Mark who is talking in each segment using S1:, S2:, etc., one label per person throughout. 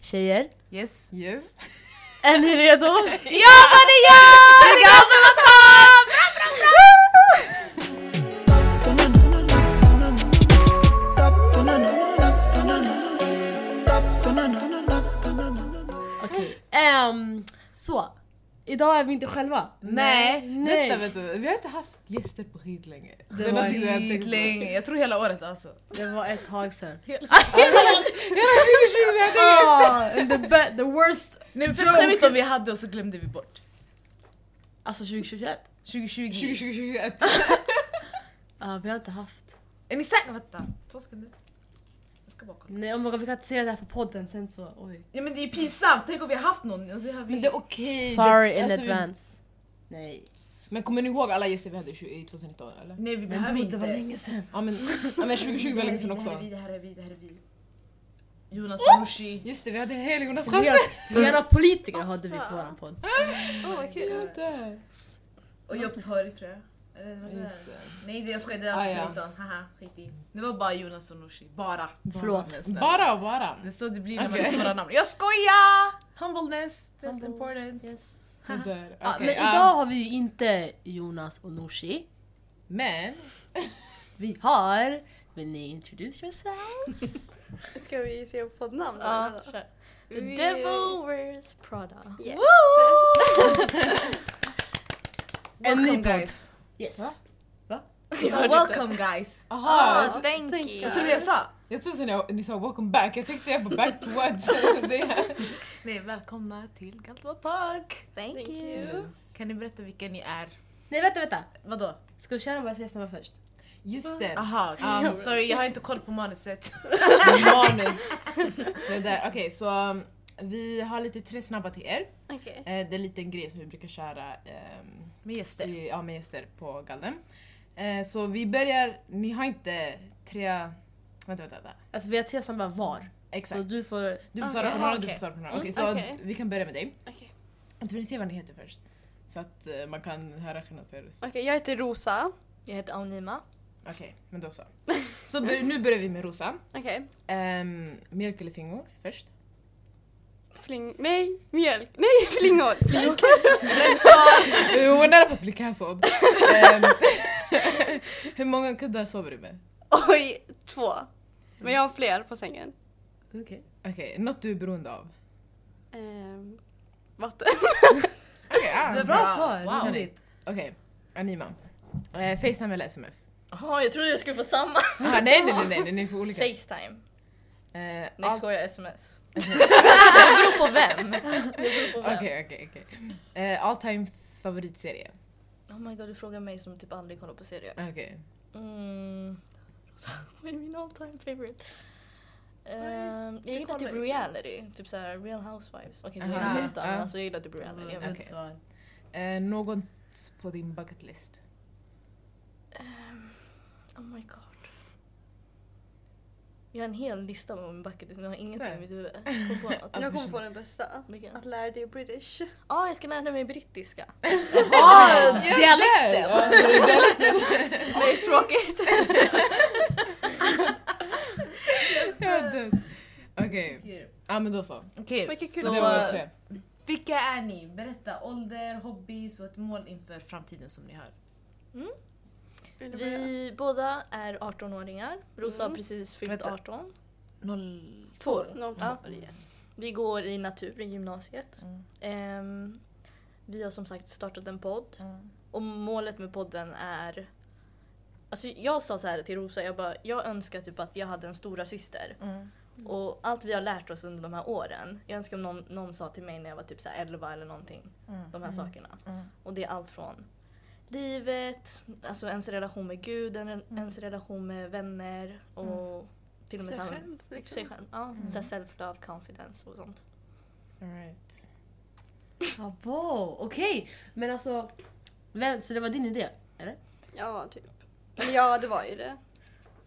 S1: Tjejer,
S2: Yes.
S3: Yes.
S1: är ni redo?
S2: Ja vad det gör! Det gav dem att
S1: Okej. ehm, så, idag är vi inte själva.
S2: Nej.
S1: Nej.
S3: Vänta, vänta. Vi har inte haft gäster på skitlänge.
S1: Det var
S3: någonting jag har tänkt på.
S2: länge. typ Jag tror hela året alltså.
S1: Det var ett tag sedan.
S3: Hela 2020 hade jag
S1: Ah, and the, be- the worst,
S2: Nej, för
S1: Bra.
S2: tre veckor vi hade och så glömde vi bort.
S1: alltså 2021.
S2: 2020.
S3: 2021.
S1: Ja, vi har inte haft.
S2: Är ni säkra? Vänta. Två sekunder. Jag ska bara kolla.
S1: Nej oh my God, vi kan inte säga det här på podden sen så. Oj.
S2: Ja men det är ju pinsamt. Tänk om vi har haft någon och så har vi...
S3: Men det är okej.
S1: Sorry
S3: Det-
S1: in
S3: alltså, vi-
S1: advance. Nej.
S3: Men kommer ni ihåg alla gäster vi hade i 20- i 2019 eller?
S2: Nej vi
S1: Men
S2: behöver
S1: det
S2: inte.
S1: det var länge sedan.
S3: Ja men, ja, men 2020 var länge sedan
S2: Det här är
S3: också.
S2: vi, det här är vi, det här är vi. Jonas Nooshi.
S3: Just det, vi hade hela Jonas Rasse.
S1: Rena- Rena politiker hade vi på våran podd.
S2: Oh, vad kul. Och jag tar det tror jag. Eller vad det
S3: Just
S2: är.
S3: det.
S2: Nej det jag skojar, det
S3: Ah,
S2: är
S3: ja.
S2: alltså 19. Haha, skit i. Det var bara Jonas och Nooshi. Bara.
S1: Förlåt.
S2: Men snälla.
S3: Bara, bara.
S2: Det är så det blir när
S3: Okej.
S2: man svarar namn. Jag skojar! Humbleness, that's
S1: Humble.
S2: important.
S1: Yes.
S3: Det där.
S1: Ja,
S3: Okej,
S1: men
S3: ja.
S1: idag har vi ju inte Jonas och Nooshi.
S3: Men,
S1: Vi har... Vill ni introduce yourselves?
S4: Ska vi se på poddnamn? då,
S1: Ja,
S4: eller?
S1: The
S4: Vi-
S1: devil wears Prada.
S4: Yes.
S1: En ny
S2: Welcome
S1: podd.
S2: guys.
S1: Yes.
S3: Va?
S2: Jag sa welcome guys.
S3: aha.
S4: Ah, thank you.
S2: Jag trodde jag sa.
S3: Jag trodde ni, ni sa welcome back, jag tänkte jag på back to what? Det är-
S2: Nej, välkomna till Galvatag.
S4: Thank, you.
S2: Kan ni berätta vilka ni är?
S1: Nej vänta, vänta.
S2: Vadå?
S1: Ska du köra våra tre snabba först?
S3: Just det,
S2: Aha, um, sorry jag har inte koll på manuset.
S3: manus. Det där. Okej, så um, vi har lite tre snabba till er.
S4: Okej.
S3: Eh, det är en liten grej som vi brukar köra ehm,
S2: Med gäster.
S3: i, ja, med gäster på galden. Eh, så vi börjar, ni har inte tre... Vänta, vänta, vänta.
S1: Alltså vi har tre snabba var.
S3: Exakt.
S1: Så du får...
S3: Du får svara
S4: Okej.
S3: på några, du
S2: Okej.
S3: får svara på några.
S1: Mm,
S3: Okej, så
S4: okej.
S3: vi kan börja med dig.
S4: Okej.
S3: Jag tror ni ser vad ni heter först. Så att eh, man kan höra skillnad på er röst.
S4: Okej, jag heter Rosa. Jag heter Anonima.
S3: Okej, men då så. Så bör, nu börjar vi med Rosa.
S4: Okej.
S3: Ehm, mjölk eller flingor först?
S4: Fling... Nej, mjölk. Nej, flingor.
S3: Eh, Hon är nära på att bli cancelled. Ehm, Hur många kuddar sover du med?
S4: Oj, två. Men jag har fler på sängen.
S1: Okej.
S3: Okej, något du är beroende av?
S4: Ehm, vatten.
S3: Okej, ah.
S2: Det
S1: Bra,
S2: var- Bra.
S1: svar,
S2: Wow.
S1: roligt.
S3: Okej, Anima. Eh, Facetime eller sms?
S5: Jaha, jag trodde jag skulle få samma.
S3: Ah, nej, nej, nej, nej, nej, ni får olika.
S5: Facetime.
S3: Eh,
S5: Nej
S3: allt-
S5: skojar, sms. det beror på vem. Det beror på vem.
S3: Okej, okej, okej. Eh, All time favoritserie?
S5: Oh my god, du frågar mig som typ aldrig kollar på serier.
S3: Okej.
S5: Mm. Vad är min all time favorite? Ehm, jag
S4: kollar
S5: gillar typ
S4: inte.
S5: reality, typ såhär real housewives. Okej det
S3: Aha.
S5: är nästan,
S3: Ja.
S5: alltså jag gillar typ reality. Jag vet.
S1: Roligt
S3: okej.
S1: svar.
S3: Eh, något på din bucket list?
S5: Ehm, oh my god. Jag har en hel lista på min bucket list, men jag har ingenting
S3: Nej.
S5: i mitt huvud. Kom på något.
S3: Ja,
S4: Jag kommer på den bästa.
S5: Vilken?
S4: Att lära dig British.
S5: Ja, jag ska lära mig brittiska.
S2: Ah,
S3: Ja,
S2: dialekten!
S3: där! Ja, det är dialekten.
S4: Nej, tråkigt.
S3: Ja, den. Okej, ja men då så.
S2: Okej,
S4: Vilka kul-
S3: Det
S2: så
S3: var
S2: eh,
S3: tre.
S2: vilka är ni? Berätta ålder, hobbies och ett mål inför framtiden som ni har.
S4: Vill du börja?
S5: Vi båda är 18-åringar. Rosa
S4: Mm.
S5: har precis fyllt
S2: Vänta.
S5: 18.
S2: Noll...
S5: Två.
S4: Någon
S5: Ja.
S4: tar det.
S5: Vi går i natur i gymnasiet.
S2: Mm.
S5: Ehm, vi har som sagt startat en podd.
S2: mm,
S5: Och målet med podden är... Alltså jag sa så här till Rosa, jag, bara, jag önskar typ att jag hade en stora syster.
S2: Mm.
S5: Och allt vi har lärt oss under de här åren. Jag önskar om någon, någon sa till mig när jag var typ så här 11 eller någonting.
S2: Mm.
S5: De här sakerna.
S2: Mm.
S5: Och det är allt från livet, alltså ens relation med Gud, en-
S2: Mm.
S5: ens relation med vänner och till och med
S4: Sig
S5: samma-
S4: själv, liksom.
S5: sig själv. Ja,
S2: Mm.
S5: så här self-love, confidence och sånt.
S3: All right.
S1: Bravo! Okej, men alltså... Vem, så det var din idé? Eller?
S4: Ja, typ. Men ja, det var ju det.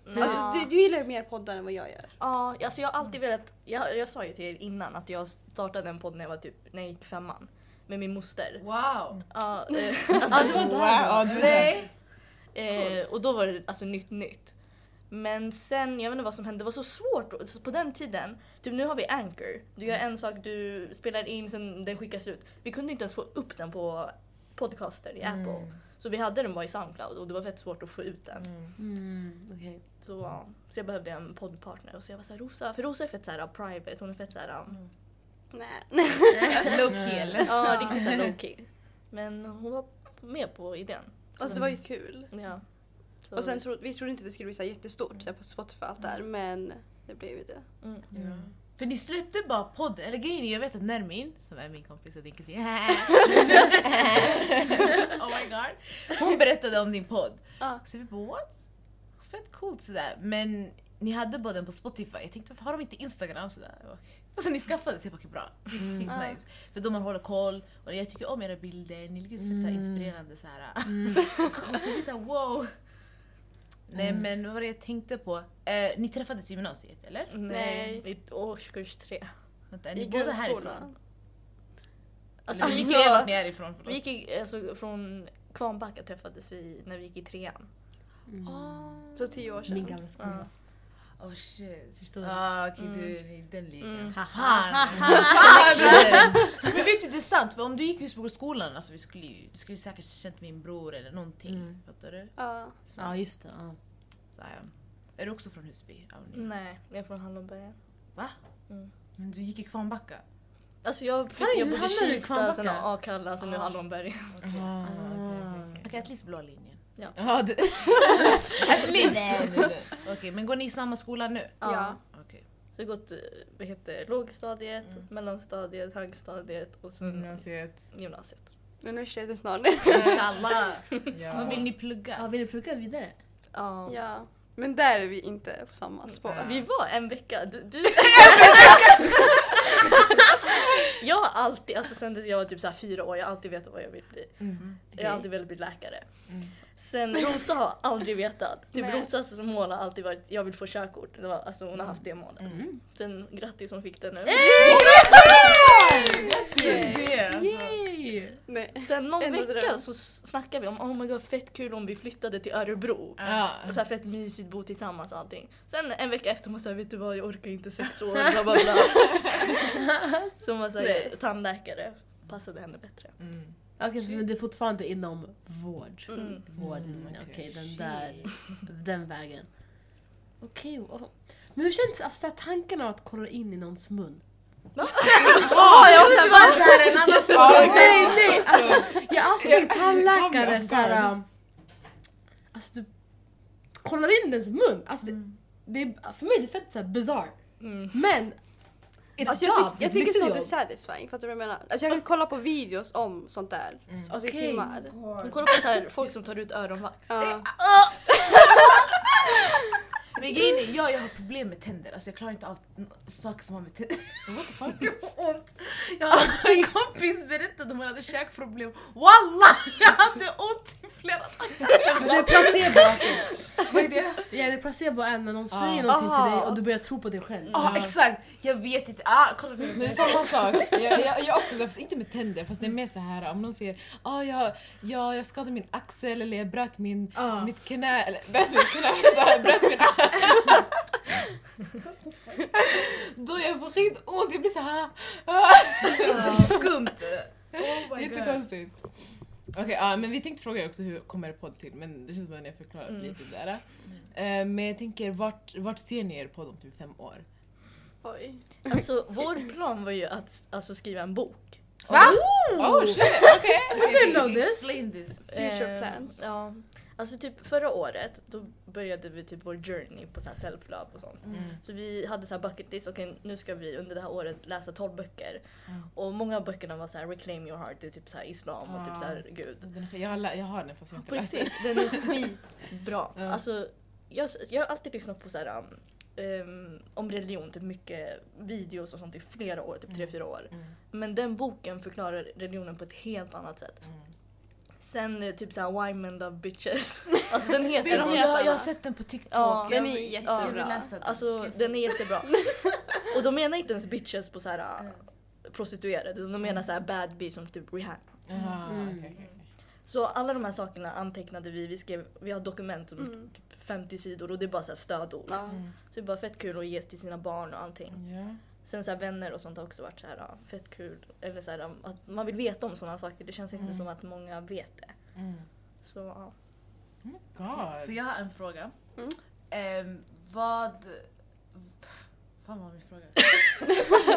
S5: Nej.
S4: Alltså, du, du gillar ju mer poddar än vad jag gör.
S5: Ja, alltså jag har alltid
S2: Mm.
S5: velat, jag, jag sa ju till er innan att jag startade en podd när jag var typ, när jag gick femman. Med min moster.
S2: Wow!
S5: Ja, eh, alltså,
S3: Wow, ja, du är där.
S2: Nej!
S5: eh, och då var det alltså nytt nytt. Men sen, jag vet inte vad som hände, det var så svårt då. så på den tiden. Typ nu har vi Anchor. Du gör en sak, du spelar in, sen den skickas ut. Vi kunde inte ens få upp den på podcaster i Apple. Så vi hade den bara i Soundcloud och det var fett svårt att få ut den.
S1: Mm, okej.
S5: Så, ja. så jag behövde en poddpartner och så jag var såhär Rosa, för Rosa är fett såhär private, hon är fett såhär
S4: Nej.
S5: low key eller? Ja, riktigt såhär low key. Men hon var med på idén.
S4: Alltså det var ju kul.
S5: Ja. Så-
S4: Och sen trodde vi trodde inte det skulle bli så här jättestort så här på Spotify och allt där men det blev ju det.
S5: mm.
S2: För ni släppte bara podden, eller grejen är jag vet att Nermin, som är min kompis och din kusin, oh my god. Hon berättade om din podd.
S4: Ja.
S2: Så vi bara what? Fett coolt sådär. Men ni hade bara den på Spotify. Jag tänkte varför har de inte Instagram sådär? Jag bara, Och så ni skaffade så jag bara okej bra.
S4: Mm.
S5: Mm.
S4: Ja.
S2: Nice. För då man håller koll och jag tycker om era bilder, ni lyckas fett
S4: Mm.
S2: såhär inspirerande såhär.
S3: Mm.
S2: och så blir det såhär wow. Nej
S4: Mm.
S2: men vad var det jag tänkte på? Eh, ni träffades i gymnasiet eller?
S5: Nej. I årskurs tre.
S2: Vänta, är
S4: I
S2: ni båda härifrån?
S4: grundskolan.
S5: Alltså,
S2: Eller
S5: vi,
S2: ni
S5: gick,
S2: säger att ni är ifrån, förlåt.
S5: vi gick i, alltså, från Kvarnbacka träffades vi när vi gick i trean.
S1: Mm.
S2: Ah.
S4: Så tio år
S1: Min
S4: sedan.
S1: gamla skola.
S2: Oh shit.
S1: Förstår du?
S2: Ah, okej du är i den ligan.
S5: Mm.
S2: Haha! Haha! Men vet du det är sant för om du gick just på skolan alltså vi skulle ju, du skulle säkert känt min bror eller någonting.
S1: Mm.
S2: Fattar du?
S4: Ja.
S1: Ja, just det. Ja.
S2: Så, ja. Är du också från Husby? Ja,
S1: Mm.
S2: ni-
S5: Nej, jag är från Hallonbergen.
S2: Va?
S5: Mm.
S2: Men du gick i Kvarnbacka?
S5: Alltså jag,
S1: Fan,
S5: jag
S1: hur
S5: bodde i
S1: hamnade du i
S5: Kista,
S1: Kvarnbacka?
S5: sen Akalla, sen nu
S2: Ah.
S5: Hallonbergen.
S2: Okej, okay.
S3: Ah, okej, okej, okej.
S2: at least blå linjen.
S3: Ja, det...
S2: At least! Okej, men går ni i samma skola nu?
S4: Ja.
S2: Okej.
S5: Så jag har gått eh, vad heter, det, lågstadiet,
S1: Mm.
S5: mellanstadiet, högstadiet och sen
S3: Gymnasiet.
S5: gymnasiet.
S4: Universitetet snart.
S2: Inshallah! Vad
S3: Ja.
S2: vill ni plugga?
S1: Ja, vill du plugga vidare?
S5: Ja.
S4: Ja. Men där är vi inte på samma spår.
S5: Vi var en vecka. Du, du... jag har alltid, alltså sen tills jag var typ så här fyra år, jag har alltid vetat vad jag vill bli.
S3: Mm.
S5: Jag har alltid velat bli läkare. Sen Rosa har aldrig vetat. Typ
S4: Mm. Nej.
S5: Rosas mål har alltid varit jag vill få körkort. Det var, alltså hon har haft det målet.
S3: Mm.
S5: Sen grattis hon fick det nu.
S4: Eh!
S2: Det, alltså.
S1: Yay!
S4: Nej.
S5: Sen någon
S4: Ändå
S5: vecka
S4: dröm.
S5: så snackade vi om oh my god fett kul om vi flyttade till Örebro.
S3: Ja.
S5: Och så här fett mysigt, bo tillsammans och allting. Sen en vecka efter hon sa vet du vad jag orkar inte sex år bla bla bla. så hon var såhär
S4: Nej.
S5: tandläkare, passade henne bättre.
S3: Mm.
S1: Okej, men det är fortfarande inom vård.
S4: Mm.
S1: Vårdlinjen,
S3: Mm,
S1: okej
S3: okej.
S1: den där, den vägen. Okej, wow. men hur känns alltså, så här tanken av att kolla in i någons mun?
S4: Åh, jag var såhär,
S1: Så här, en annan fråga. Nej, nej, alltså, jag har alltid tänkt
S3: Kom
S1: tandläkare
S3: igen,
S1: såhär...
S3: barn.
S1: um, Alltså du kollar in dens mun. Alltså, det, det är, för mig är det fett såhär bizarr.
S5: Mm.
S1: Men it's
S4: Alltså
S1: job,
S4: jag,
S1: det
S4: tyck,
S1: är
S4: jag
S1: ett
S4: tycker
S1: viktigt
S4: sånt är
S1: jobb.
S4: satisfying, fattar du vad jag menar? Alltså jag kan kolla på videos om sånt där, alltså
S1: Okej.
S4: i timmar.
S5: Hon kollar på så här, folk som tar ut öronvax.
S4: Ja.
S2: Men grejen är, jag, jag har problem med tänder. Alltså jag klarar inte av n- saker som har med tänder... What the fuck? Jag får ont. Jag hade en kompis berättade att hon hade käkproblem. Wallah! Jag hade ont i flera
S1: Men det är placebo alltså. Vad är det? Ah. Ja, det är placebo är när någon säger någonting
S4: Aha.
S1: till dig och du börjar tro på dig själv.
S2: Ja ah, exakt, jag vet inte. Ah, kolla på
S3: Men
S2: mig.
S3: samma sak, jag, jag, jag också, fast inte med tänder fast det är mer så här om någon säger ah, jag, ja, jag skadade min axel eller jag bröt min,
S1: Ja.
S3: mitt knä eller bröt mitt knä, vänta, jag bröt min axel. Då jag får skitont, jag blir så här. Ah,
S2: Skumt.
S3: oh jättekonstigt. Okej, ja, men vi tänkte fråga er också hur kommer er podd till men det känns som att ni har förklarat
S5: Mm.
S3: lite där. Eh, men jag tänker vart, vart ser ni er podd om typ fem år?
S4: Oj.
S5: Alltså vår plan var ju att alltså, skriva en bok.
S2: Va?
S3: Oh, shit, okej!
S1: I didn't know this.
S2: Explain this.
S4: Future plans.
S5: Ehm, Ja. Alltså typ förra året då började vi typ vår journey på så här self-love och sånt.
S3: Mm.
S5: Så vi hade så här bucket list, okej nu ska vi under det här året läsa 12 böcker.
S3: Mm.
S5: Och många av böckerna var så här reclaim your heart, det är typ så här islam och typ så här gud.
S3: Den är för- Mm. Jag har, lä- jag har den fast jag har
S5: På
S3: inte läst den.
S5: riktigt, den är skitbra.
S3: Ja.
S5: Alltså jag, jag har alltid lyssnat på så här um, um, om religion, typ mycket videos och sånt i flera år, typ tre fyra år.
S3: Mm.
S5: Men den boken förklarar religionen på ett helt annat sätt.
S3: Mm.
S5: Sen eh, typ såhär Why Men Love Bitches. Alltså den heter
S2: Vet du,
S5: helt
S2: jag, jag har
S5: annat.
S2: sett den på TikTok.
S5: Ja.
S2: Jag
S4: Den är
S2: vill-
S4: jättebra.
S2: Jag vill läsa den.
S5: Alltså den är jättebra. Och de menar inte ens bitches på såhär mm. prostituerade. utan De menar såhär bad bee som typ Rihanna.
S3: Jaha,
S1: Mm.
S3: okej, okej, okej.
S5: Så alla de här sakerna antecknade vi. Vi, skrev, vi har dokument som
S4: Mm.
S5: typ 50 sidor och det är bara så här stödord.
S4: Ja.
S5: Så det är bara fett kul att ge till sina barn och allting.
S3: Ja.
S5: Sen så här, vänner och sånt har också varit så här, ja, fett kul. Eller så här, att man vill veta om sådana saker. Det känns inte
S3: Mm.
S5: som att många vet det.
S3: Mm.
S5: Så ja.
S3: Oh my god.
S2: För jag har en fråga.
S4: Mm.
S2: Ehm, vad... Fan vad min fråga.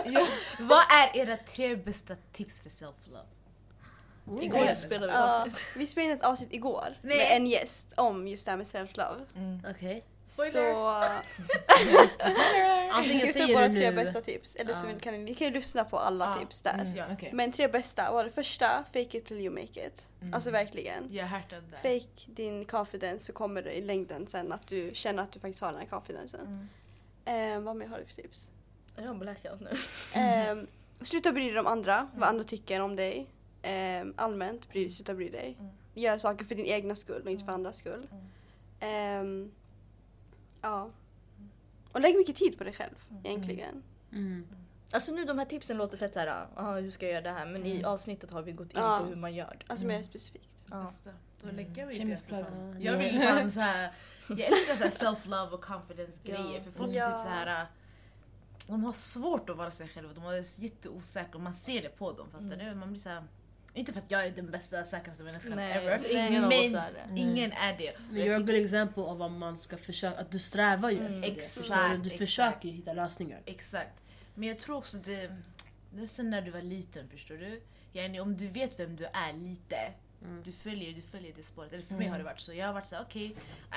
S3: Ja.
S2: vad är era tre bästa tips för self-love?
S5: Igår
S2: Ja.
S5: spelade vi
S4: Ja,
S5: avsnitt.
S4: vi spelade in ett avsnitt igår
S2: Nej.
S4: med en gäst om just det här med self-love.
S3: Mm.
S1: Okej.
S5: Spoiler.
S4: Så vi
S1: Antingen
S4: ska
S1: säger
S4: upp våra
S1: du
S4: tre
S1: nu...
S4: bästa tips. Eller så
S1: Ja.
S4: kan ni, ni kan ju lyssna på alla
S2: Ja.
S4: tips där.
S3: Mm,
S2: Ja.
S3: okej.
S4: Men tre bästa var det första, fake it till you make it. Alltså verkligen.
S2: Jag har hört den där.
S4: Fake din confidence så kommer det i längden sen att du känner att du faktiskt har den här confidencen.
S2: Mm.
S4: Ehm, vad mer har du för tips?
S5: Jag har blackout nu.
S4: Ehm, sluta bry dig om andra, vad andra tycker om dig. Ehm, allmänt, bry, sluta bry dig.
S2: Mm.
S4: Gör saker för din egna skull och inte för andras skull. Ehm, ja. Och lägg mycket tid på dig själv egentligen.
S1: Mm.
S5: Alltså nu de här tipsen låter fett såhär, ah, hur ska jag göra det här? Men i avsnittet har vi gått in
S4: Mm. Ja.
S5: på hur man gör det.
S4: Alltså mer specifikt.
S5: Ja.
S2: Bästa. Då lägger vi
S3: Kemisk
S2: det. för
S3: plugg.
S2: fan.
S1: Ja.
S2: Mm. Jag vill fan så här, jag älskar så här self-love och confidence-grejer
S5: Ja.
S2: för folk är
S4: Ja.
S2: typ så här. äh, De har svårt att vara sig själva, de är jätteosäkra och man ser det på dem fattar du? Man blir så här, inte för att jag är den bästa säkraste människan
S5: Nej,
S2: ever.
S5: alltså, ingen av
S2: men
S5: oss är det.
S2: ingen är det. Och
S1: Men
S2: jag
S1: you're a
S2: tycker-
S1: good example av vad man ska försöka, att du strävar ju efter det.
S2: Exakt,
S1: förstår du? Du
S2: Mm. exakt.
S1: försöker ju hitta lösningar.
S2: Exakt. Men jag tror också det, det är sen när du var liten förstår du. Yani, om du vet vem du är lite,
S5: Mm.
S2: du, följer, du följer det spåret. Eller för mig har det varit så. Jag har varit såhär okej,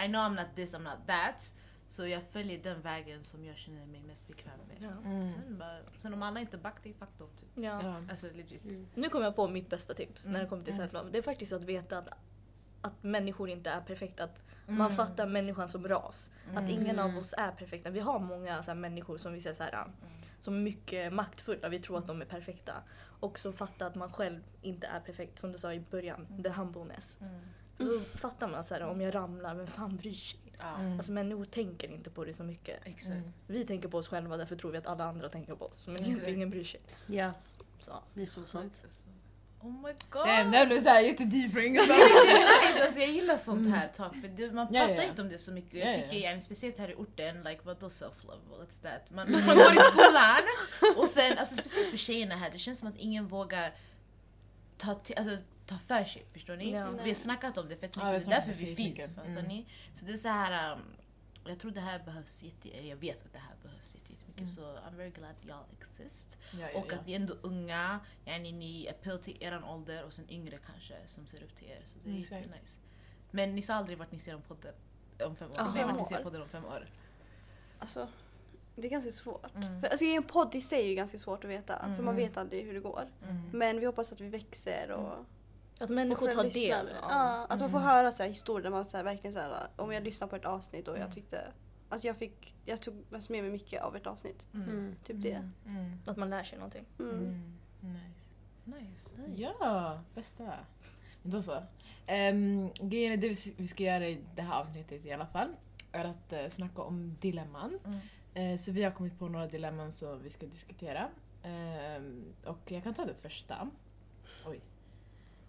S2: I know I'm not this, I'm not that. Så jag följer den vägen som jag känner mig mest bekväm med.
S5: Ja.
S3: Mm.
S2: Sen, bara, sen om alla inte back dig, fuck dem typ.
S5: Ja.
S3: Ja.
S2: Alltså legit.
S5: Nu kom jag på mitt bästa tips när det kommer till
S3: Mm.
S5: self-love. Det är faktiskt att veta att, att människor inte är perfekta. Att man fattar människan som ras. Att ingen av oss är perfekta. Vi har många så här, människor som vi ser så här, ah, som är mycket maktfulla. Vi tror att de är perfekta. Och så fatta att man själv inte är perfekt. Som du sa i början, the humbleness.
S2: Mm.
S5: Då fattar man så här, om jag ramlar, vem fan bryr sig?
S2: Ja,
S3: Mm.
S5: Alltså människor tänker inte på det så mycket.
S2: exakt.
S5: Vi tänker på oss själva, därför tror vi att alla andra tänker på oss. Men
S2: Exakt.
S5: egentligen ingen bryr sig.
S1: Ja,
S5: Så.
S1: det är så sant.
S2: Alltså, Oh my god!
S3: Damn, det här blev såhär jättedeep för ingenstans.
S2: Nej, det är nice. alltså, jag gillar sånt här talk för det, man
S3: Mm. Ja,
S2: pratar
S3: ja, ja.
S2: inte om det så mycket.
S3: Ja,
S2: Jag
S3: ja,
S2: tycker
S3: ja.
S2: gärna, speciellt här i orten, like vadå self-love? What's that? Man,
S3: Mm.
S2: man går i skolan och sen, alltså, speciellt för tjejerna här, det känns som att ingen vågar ta, till, alltså, ta för sig. Förstår ni?
S5: Ja.
S2: Vi har snackat om det fett
S3: Ja,
S2: mycket,
S3: vi
S2: det är därför
S3: snackar
S2: vi
S3: skitmycket.
S2: finns. Fattar
S3: Mm.
S2: ni? Så det är så här, um, jag tror det här behövs jätte, eller jag vet att det här behövs jätte- jättemycket
S3: Mm.
S2: så I'm very glad y'all exist. Och att ni är ändå unga, yani ni appeal till eran ålder och sen yngre kanske som ser upp till er. Så det är
S3: Mm, exakt.
S2: jättenice. Men ni sa aldrig vart ni ser om podden om fem år.
S5: Om
S2: Nej,
S5: fem
S2: vart ni ser
S4: år.
S2: podden om fem år.
S4: Alltså, det är ganska svårt.
S3: Mm,
S4: För, alltså, i en podd i sig är ju ganska svårt att veta för man vet aldrig hur det går.
S3: mm.
S4: Men vi hoppas att vi växer och
S5: Att människor tar
S4: lyssnar.
S5: del av
S4: Ja, att man får höra så här historier där man så här, verkligen så här, om jag lyssnar på ett avsnitt och jag tyckte Alltså jag fick, jag tog alltså, med mig mycket av ett avsnitt.
S1: Mm.
S4: Typ det.
S3: Mm.
S5: att man lär sig någonting.
S4: Mm.
S3: Mm. Nice.
S2: Nice.
S1: Mm.
S3: Ja, bästa. Men Då så. Um, grejen är det vi s- vi ska göra i det här avsnittet i alla fall är att eh, snacka om dilemman.
S2: Mm.
S3: Eh, så vi har kommit på några dilemman som vi ska diskutera. Ehm, och jag kan ta det första. Oj.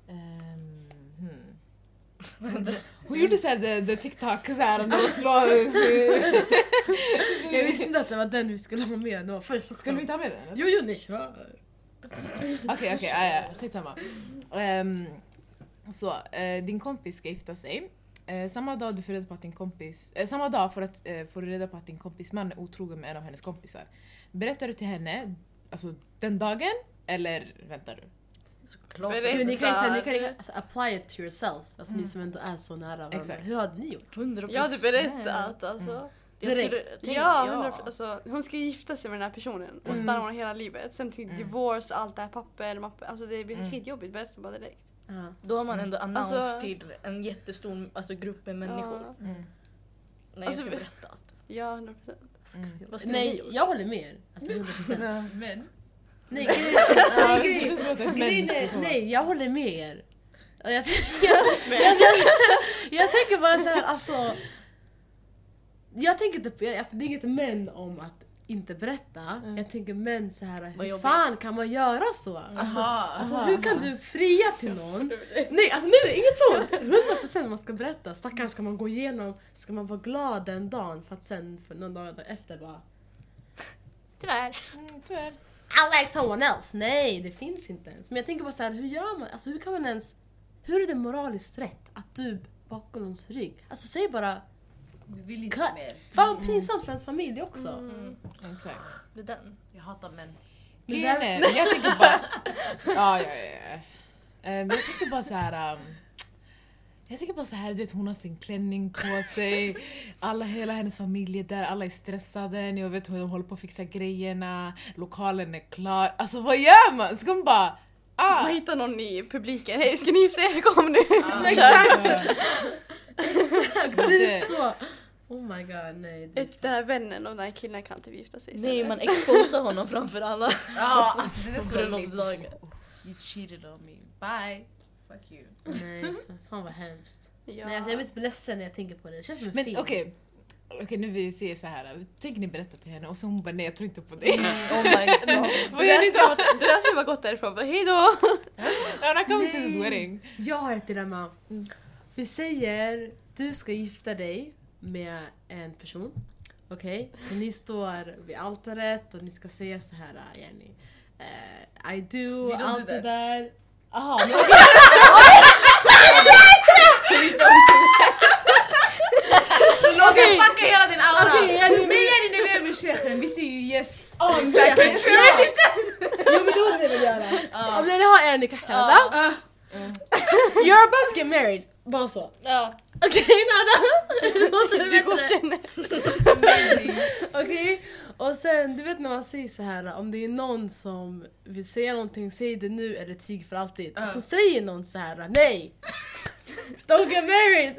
S3: Ehm, hmm. Hon gjorde såhär the, the TikTok såhär, när hon slår...
S1: Jag visste inte att det var den vi skulle ha med. Det var först också.
S3: Skulle vi inte ha med den? eller?
S1: Jo, jo, ni kör!
S3: Okej, okej, ja, ja, skitsamma. Ehm, så, eh, din kompis ska gifta sig. Eh, samma dag du får reda på att din kompis... eh, samma dag får, att, eh, får du reda på att din kompis man är otrogen med en av hennes kompisar. Berättar du till henne alltså, den dagen eller väntar du?
S5: Såklart.
S4: Berätta.
S1: Jo, ni kan ju säga- ni kan ju- alltså, apply it to yourselves, alltså ni som ändå är så nära varandra.
S3: Exakt.
S1: Hur hade ni gjort?
S5: 100%.
S4: Jag hade berättat alltså.
S5: Jag skulle-
S1: Direkt.
S5: tänk-
S4: Ja, 100%, Alltså, hon ska gifta sig med den här personen och stanna med honom hela livet. Sen till divorce och allt det här papper, mappe, alltså det blir skitjobbigt. Berätta bara direkt.
S1: Ja.
S5: Då har man ändå annons
S4: Alltså-
S5: till en jättestor alltså, grupp med människor.
S4: Ja,
S5: Nej, jag
S4: Alltså,
S5: ska
S4: vi-
S5: berätta allt.
S4: ja 100%. procent.
S2: Mm.
S5: Vad skulle ni
S1: Nej,
S5: gjort?
S1: jag håller med er. Alltså, 100%.
S3: Mm.
S2: Men
S1: Nej, grejen är-
S3: Ja,
S1: nej,
S3: det
S1: grejen-
S3: känns som att ett
S1: grejen
S3: män
S1: är-
S3: skulle ta.
S1: Nej, jag håller med er. Och Jag, tänker- jag, jag, jag tänker bara så här, alltså. Jag tänker inte på, jag- alltså, det är inget men om att inte berätta. Jag tänker men så här, hur
S5: jobbigt.
S1: fan kan man göra så? Alltså, alltså
S3: Aha.
S1: hur kan du fria till någon? Nej alltså nej, nej inget sånt! 100% man ska berätta. Stackars ska man gå igenom, ska man vara glad den dagen för att sen för någon dag efter bara
S5: Tyvärr.
S3: Mm, tyvärr.
S1: I like someone else. Nej det finns inte ens. Men jag tänker bara så här, hur gör man? Alltså hur kan man ens, hur är det moraliskt rätt att du bakom någons rygg? Alltså säg bara,
S2: Du vill inte
S1: Cut.
S2: mer. Mm.
S1: fan pinsamt för ens familj också.
S3: Exakt.
S5: Det är den.
S2: Jag hatar män.
S1: Men
S3: Grejen är, jag tänker bara... Ja, ja, ja. ja. Ehm, jag tänker bara så här... ehm, jag tänker bara så här, du vet hon har sin klänning på sig, alla, hela hennes familj är där, alla är stressade, ni vet hur de håller på att fixa grejerna, lokalen är klar. Alltså vad gör man? Ska man bara... Ah!
S4: Man hittar någon i publiken. Hej ska ni gifta er? Kom nu!
S3: Mm.
S1: Typ så! Oh my god, nej. det-
S4: Den här vännen och den här killen kan typ gifta sig
S5: Nej
S4: istället.
S5: man exposar honom framför alla.
S2: Ja, alltså det där
S5: På
S2: skulle jag
S5: bröllopsdagen.
S2: inte- You cheated on me. Bye. Fuck you.
S1: Nej, fan vad hemskt.
S4: Ja.
S1: Nej, alltså, jag blir typ ledsen när jag tänker på det. Det känns som en
S3: Men
S1: film.
S3: okej, okej, nu vi ser så här. tänk ni berätta till henne och så hon bara nej jag tror inte på det.
S5: Oh my god.
S3: Vad
S4: Du
S3: gör ni då?
S4: där ska bara gått därifrån bara hejdå!
S3: Hon har kommit till this
S1: Nej.
S3: wedding.
S1: Jag har ett dilemma. Vi säger du ska gifta dig med en person. Okej, så ni står vid altaret och ni ska säga så här, äh, Jenny. eh, I do,
S2: do
S1: allt det
S2: that.
S1: där.
S3: Jaha, men
S2: Förlåt jag fuckar hela din aura!
S1: Okej, Jenny, men-
S2: Men Jenny när vi är med chefen, vi säger ju yes.
S1: Ja, men- Jo men då är det vi göra. Om ni har er ni kan hälla. You're about to get married. Bara så.
S5: Ja.
S1: Okej Nada. Låter det
S4: Du
S1: bättre?
S4: godkänner!
S1: Okej, och sen du vet när man säger så här om det är någon som vill säga någonting, säg det nu eller tig för alltid. Och så säger någon så här nej. Don't get married.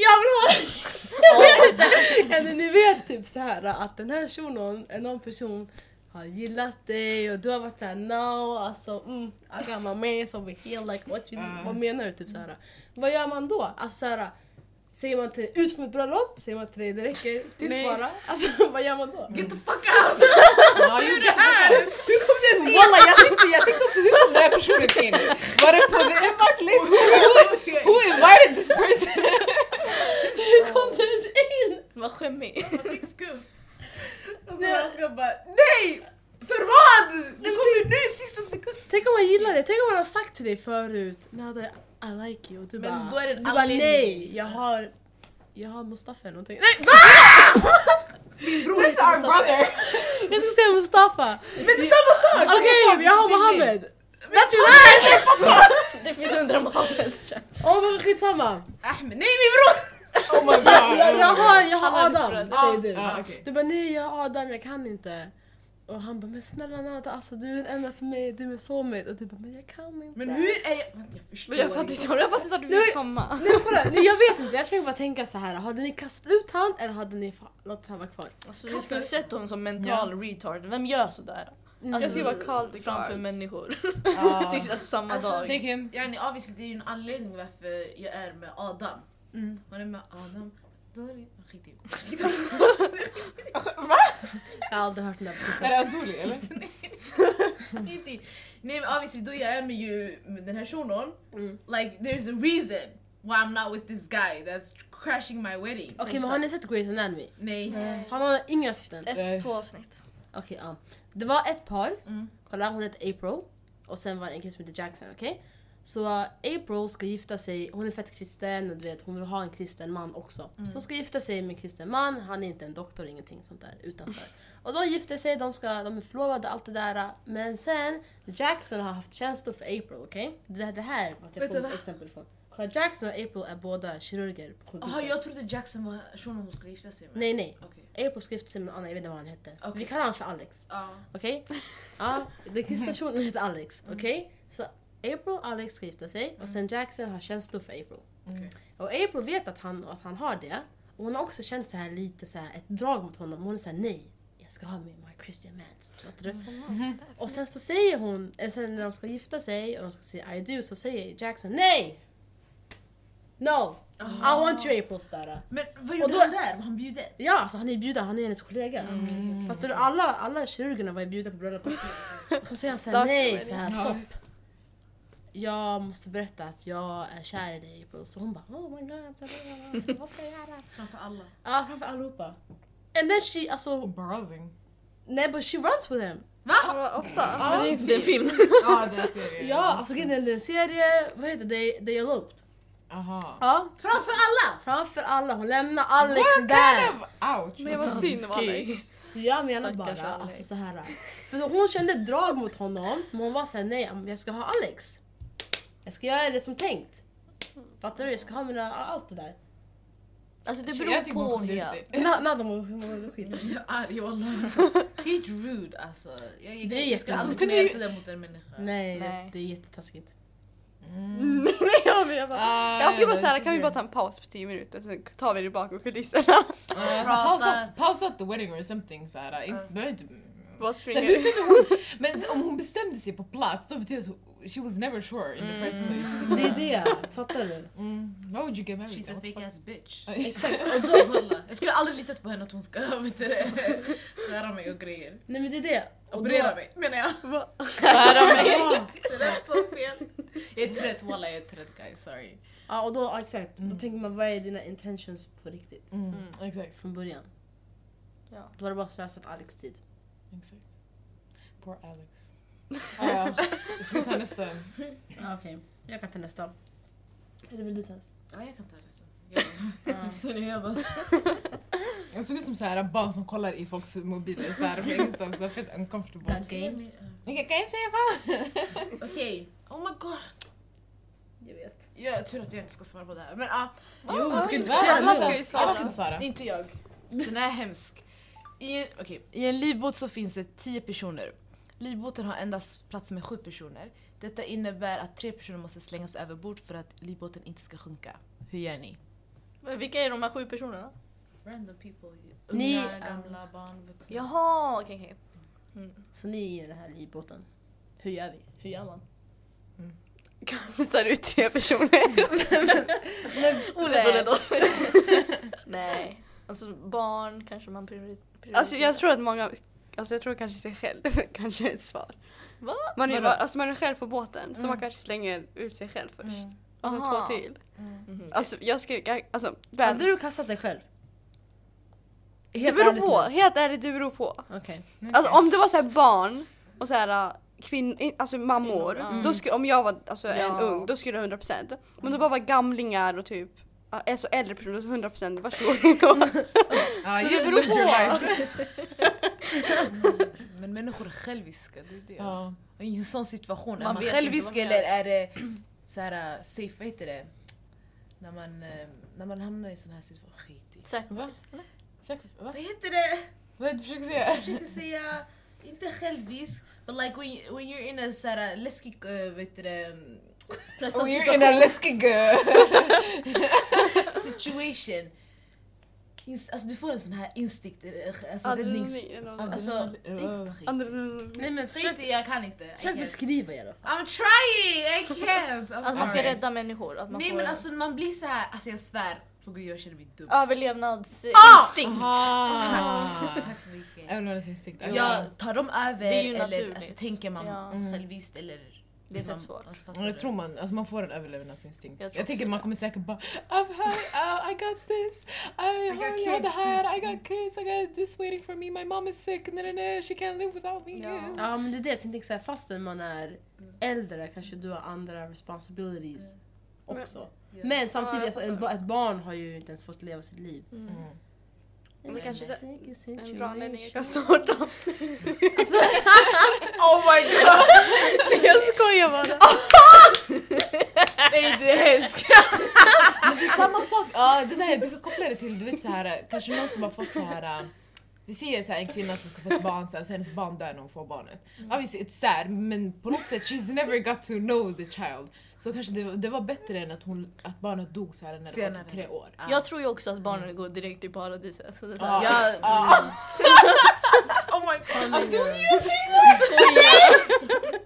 S1: Jag vill ha Jag vet inte. Eller ni vet typ så här att den här shunon, är någon person har gillat dig och du har varit såhär no, alltså mm, I got my mans over here like what you,
S3: Ja.
S1: vad menar du? Typ så här. Vad gör man då? Alltså så här, säger man till ut från ett bröllop, säger man till dig det räcker, tyst
S4: Nej.
S1: bara. Alltså vad gör man då?
S2: Get the fuck out!
S3: ja, ju det här.
S1: Hur kom det sig?
S3: Walla jag tänkte, jag tänkte också hur kom den här personen in? Var det på the invite list? Who, who invited this person?
S1: Hur kom det ens in?
S5: Vad skämmig.
S2: Fucking skumt. Och så jag ska bara NEJ! För vad? Du kommer nu sista sekunden!
S1: Tänk om man gillar det, tänk om man har sagt till dig förut Nada, I like you och du
S2: Men
S1: bara,
S2: då är det
S1: du
S2: en
S1: bara
S2: anledning.
S1: nej, jag har, jag har Mustafa eller någonting. Nej!
S2: Bror heter Mustafa.
S1: Jag ska säga Mustafa!
S2: Men det är samma sak!
S1: Okej,
S2: Samma sak,
S1: jag har
S2: samma grej.
S1: Mohammed! That's your life!
S5: Det finns hundra Mohammeds tror
S1: Åh oh, men skitsamma!
S2: Ahmed, Äh, nej min bror!
S3: Oh my
S1: Jag, jag
S3: god.
S1: har, jag har
S5: Alla
S1: Adam,
S5: bröder.
S1: säger du.
S3: Ja, okej.
S1: Du bara nej jag har Adam, jag kan inte. Och han bara men snälla Nada, alltså du är den enda för mig, du är min soulmate. Och du bara men jag kan inte.
S2: Men hur är jag... Vänta, jag förstår
S4: Men jag fattar inte, jag fattar inte att du
S1: Nej.
S4: vill komma.
S1: Nej, kolla, nej jag vet inte, jag försöker bara tänka så här. hade ni kastat ut han eller hade ni fa- låtit han vara kvar?
S5: jag. Alltså, du skulle sett honom som mental retard. Vem gör sådär?
S1: Mm.
S5: Alltså,
S4: Jag ska vara called
S5: framför
S4: guards.
S5: människor.
S3: Ja.
S5: Sist, alltså samma
S2: Alltså,
S5: dag.
S3: Take him.
S2: Yani obviously det är ju en anledning varför jag är med Adam.
S1: Mm.
S2: Man är med Adam, då är det... Skit i det.
S1: Jag har aldrig hört den där
S3: Är det Adoli eller?
S2: Skit i. Nej men obviously då jag är med ju med den här shunon.
S1: Mm.
S2: Like there's a reason why I'm not with this guy that's crashing my wedding.
S1: Okej men har ni sett Grey's Anatomy?
S2: Nej.
S1: Har någon inga syften?
S3: Nej.
S5: Ett, två avsnitt.
S1: Okej ja. Det var ett par,
S2: Mm.
S1: kolla hon hette April och sen var det en kille som hette Jackson, okej? Så eh, April ska gifta sig, hon är fett kristen och du vet hon vill ha en kristen man också.
S2: Mm.
S1: Så hon ska gifta sig med en kristen man, han är inte en doktor, ingenting sånt där utanför. Och de gifter sig, de, ska, de är förlovade allt det där. Men sen, Jackson har haft känslor för April, okej? Det, det här var att jag
S2: Vänta,
S1: får
S2: va?
S1: ett exempel från. Kolla Jackson och April är båda kirurger på
S2: Jaha
S1: sjukhuset.
S2: jag trodde Jackson var shunon hon skulle gifta sig med.
S1: Nej nej,
S2: Okej.
S1: April ska gifta sig med någon annan, jag vet inte vad han hette.
S2: Okej.
S1: Vi kallar honom för Alex.
S2: Ja.
S1: Okej? Ja, den kristna shunon heter Alex.
S2: Mm.
S1: Okej? Så April och Alex ska gifta sig och sen Jackson har känslor för April.
S2: Okej.
S1: Och April vet att han, att han har det. Och hon har också känt så här lite så här ett drag mot honom. Hon är såhär nej, jag ska ha med my Christian man. Så låter det.
S2: Mm.
S1: Och sen så säger eh, hon, eller sen när de ska gifta sig och de ska säga I do så säger Jackson nej! No! I want you April Stara.
S2: Ah. Men vad
S1: Och
S2: gjorde
S1: då-
S2: han där? Var han bjuden? Mm.
S1: Ja, alltså han är bjuden, han är hennes kollega. Fattar du? Alla, alla kirurgerna var ju bjudna på bröllopet. Och så säger han såhär,
S4: Dark
S1: nej,
S4: wedding.
S1: så här, stopp. Jag måste berätta att jag är kär i dig April. Så hon bara, oh my god, så här, så här, vad ska jag göra?
S2: Framför alla.
S1: Ja, framför allihopa. And then she, alltså,
S3: Browsing.
S1: nej but she runs with him.
S4: Ja, Ofta.
S3: Ja, det är
S5: Det är film.
S3: Ja, det ser jag.
S1: Ja, alltså grejen är, det är en serie, vad heter det, They Eloped.
S3: Aha.
S1: Ja. Framför alla! Framför alla, hon lämnar Alex där.
S3: Ouch.
S4: Men det var synd om Alex.
S1: Så jag menar
S5: Stackars
S1: bara,
S5: Alex.
S1: alltså så här. För då hon kände ett drag mot honom, men hon var såhär nej, jag ska ha Alex. Jag ska göra det som tänkt. Fattar du? Jag ska ha mina, allt det där.
S5: Alltså det
S3: Jag
S5: beror
S3: tycker hon
S5: på.
S3: skämde ut
S5: Ja.
S3: sig.
S1: Na- Nada mår mår skit.
S2: Jag är arg wallah. Helt rude alltså. Jag, jag,
S1: Det är
S2: jag skulle
S1: jättesynd.
S2: aldrig kunna göra sådär mot en människa.
S1: Nej,
S5: Nej.
S1: det är jättetaskigt.
S2: Mm.
S3: Mm.
S2: Uh,
S4: Nej, jag vet.
S3: Ah,
S4: Jag skulle bara
S3: ja,
S4: säga,
S3: det
S4: kan vi
S3: är-
S4: bara ta en paus på 10 minuter sen tar vi det bakom kulisserna.
S3: Ja,
S2: Pratar.
S3: alltså, pausa- Pausa Uh, at the wedding or something såhär.
S2: Ja.
S3: Inte- Behöver inte...
S4: Vad
S3: Men
S4: springer
S3: tänk om hon- Men om hon bestämde sig på plats då betyder det att hon- she was never sure in
S2: Mm.
S3: the first place.
S1: Det är det, fattar du?
S3: Mm. Why would you get married?
S2: She's a
S3: What the
S2: fake
S3: fuck?
S2: ass bitch.
S1: Exakt. Och då,
S2: Wallah. Jag skulle aldrig litat på henne att hon ska vet du det, skära mig och grejer.
S1: nej men det är det. Och då,
S2: Operera mig menar jag.
S4: Va?
S1: ja,
S2: Det lät så fel. Jag är trött wallah, jag är trött guys. Sorry.
S1: ja, och då, ja, exakt. Då tänker man, vad är dina intentions på riktigt?
S3: Mm, Exakt.
S1: Från början.
S5: Ja.
S1: Då var det bara slösat Alex tid.
S3: Exakt. Poor Alex. Ah, ja. Ska vi ta nästa?
S1: Ja, Okej, jag kan ta nästa. Eller vill du ta nästa?
S2: Ja jag kan ta det sen. Jag- Sorry jag bara...
S3: Jag såg ut som såhär barn som kollar i folks mobiler såhär på ingenstans. Det var fett uncomfortable.
S1: Games.
S3: Vilka games säger jag fan?
S2: Okej. Oh my god.
S1: Jag vet.
S2: Jag tror att jag inte ska svara på det här. Men ah,
S1: Jo, du ska ju
S2: diskutera
S1: diskutera
S2: alla
S1: nu.
S2: ska ju svara.
S3: Svara Sara.
S2: inte jag. Den här är hemsk. I en, okej, I en livbåt så finns det 10 personer. Livbåten har endast plats med 7 personer. Detta innebär att 3 personer måste slängas överbord för att livbåten inte ska sjunka. Hur gör ni?
S5: Men Vilka är de här sju personerna?
S2: Random people.
S1: Unga, Ni- gamla,
S2: barn, vuxna.
S5: Jaha, okej okej.
S1: Så ni är i den här livbåten. Hur gör vi? Hur gör man?
S4: Kanske tar ut tre personer.
S5: Olle då. Nej. Alltså barn kanske man priori- prioriterar.
S4: Alltså jag tror att många, alltså jag tror kanske sig själv kanske är ett svar.
S5: Va?
S4: Man är,
S3: Vadå?
S4: bara, alltså man är själv på båten så man kanske slänger ut sig själv först. Och sen
S5: Aha.
S4: två till.
S5: Mhm.
S4: Alltså jag skulle, jag- alltså
S1: Hade
S4: väl,
S1: du kastat dig själv?
S4: det beror på. Helt ärligt det beror på.
S1: Okej.
S4: Alltså om det var såhär barn och såhär kvinnor, alltså mammor.
S5: Kvinnor, ja.
S4: Då skulle, om jag var alltså,
S5: Ja.
S4: en ung då skulle det 100% Men då bara var gamlingar och typ ja, Alltså äldre personer, så 100% varsågod då.
S3: Ah,
S4: Så
S3: you
S4: det beror
S3: lived your life.
S4: på. Alltså,
S2: Mm. Men människor är själviska, det är det.
S3: Ja.
S2: Och I en sån situation, är
S5: Man
S2: man,
S5: vet
S2: självisk
S5: inte vad man
S2: eller är det så här, äh, safe, vad heter det? När man, eh, när man hamnar i sån här situation, skit i.
S5: Säkert.
S3: Va? Va?
S2: Vad heter det?
S3: Vad är det du försöker säga?
S2: Jag försöker säga, inte självisk, but like when, you, when you're in a så här, läskig, eh, vad heter det, mm,
S5: Pressad
S3: läskig...
S2: situation. Inst- alltså du får en sån här instinkt, eh, alltså räddnings...
S4: Adrenalin. eller något.
S2: Alltså, skit.
S4: Adrenalin.
S1: Nej men
S2: Skit
S1: försök,
S2: i, jag kan inte. I
S1: försök
S2: can't.
S1: beskriva i alla fall.
S2: I'm trying, I can't! I'm
S5: Alltså man ska
S2: sorry.
S5: rädda människor. Att man
S2: Nej
S5: får
S2: men
S5: en
S2: alltså man blir så här, alltså jag svär på gud jag känner mig dum.
S5: Ah. Överlevnadsinstinkt.
S3: Ah!
S2: Tack så mycket.
S3: Även om det är instinkt.
S2: Ja, tar de över
S5: Det är ju
S2: eller
S5: naturligt.
S2: alltså, tänker man
S5: Ja.
S2: mm. självvisst eller?
S5: Det är
S2: man-
S5: fett svårt.
S2: alltså, fattar
S3: Jag
S2: du?
S3: tror man, alltså man får en överlevnadsinstinkt.
S5: Jag
S3: Jag,
S5: tror
S3: tänker
S5: också
S3: man
S5: det.
S3: kommer säkert bara I've had, oh, I got this, I,
S2: I got
S3: har jag
S2: kids
S3: det här, I got kids, I got this waiting for me, my mom is sick, no, no, no, she can't live without me.
S5: Ja.
S1: Ja men det är det, jag tänkte såhär fastän man är äldre kanske du har andra responsibilities också.
S2: Ja.
S1: Men samtidigt,
S4: Ja,
S1: alltså, en, ba- ett barn har ju inte ens fått leva sitt liv.
S3: Mm.
S4: Men det kanske är en bra anledning jag
S1: situation.
S4: kan starta.
S1: Alltså,
S2: Oh my god!
S4: Jag skojar bara.
S2: Nej det är hemskt.
S3: Det är samma sak, ja det där jag brukar koppla det till, du vet så här, kanske någon som har fått så här. äh, Vi ser så här, en kvinna som ska få ett barn så här, och så hennes barn dör när hon får barnet.
S5: Mm.
S3: Ja visst, it's sad men på något sätt she's never got to know the child. Så kanske det, det var bättre än att, hon, att barnet dog så här när det var
S2: Senare.
S3: typ tre år.
S5: Jag tror ju också att barnen går direkt till paradiset. Så det är så
S3: Ja.
S5: här,
S2: Ja.
S3: Ah.
S2: oh my god.
S5: skojar.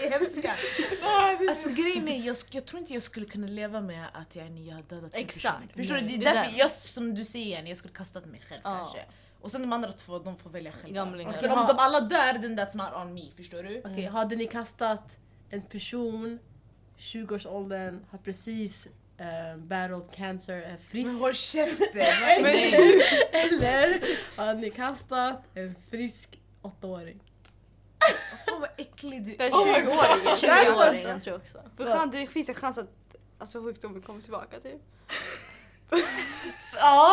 S2: Det är hemska.
S3: Ah, det är
S2: Alltså
S3: så
S2: grejen är, jag, sk- jag tror inte jag skulle kunna leva med att jag, jag har dödat en
S5: Exakt.
S2: person. Förstår du? Det
S5: Nej, det
S2: är
S5: är
S2: därför
S5: där.
S2: jag, som du säger, Jenny, jag skulle kastat mig själv
S5: Ja.
S2: kanske. Och sen de andra två, de får välja själva.
S5: Gamlingar.
S2: Sen om de alla dör, then that's not on me. Förstår du?
S1: Okej, hade ni kastat en person 20-årsåldern, har precis eh, battled cancer, är frisk.
S2: Men håll käften!
S1: Eller, eller har ni kastat en frisk åttaåring?
S2: Fan vad äcklig du är.
S4: Den
S5: Oh my
S4: 20-åringen.
S5: Tjugoåringen tror jag också.
S4: För fan, det finns en chans att alltså, sjukdomen kommer tillbaka typ.
S1: Ja!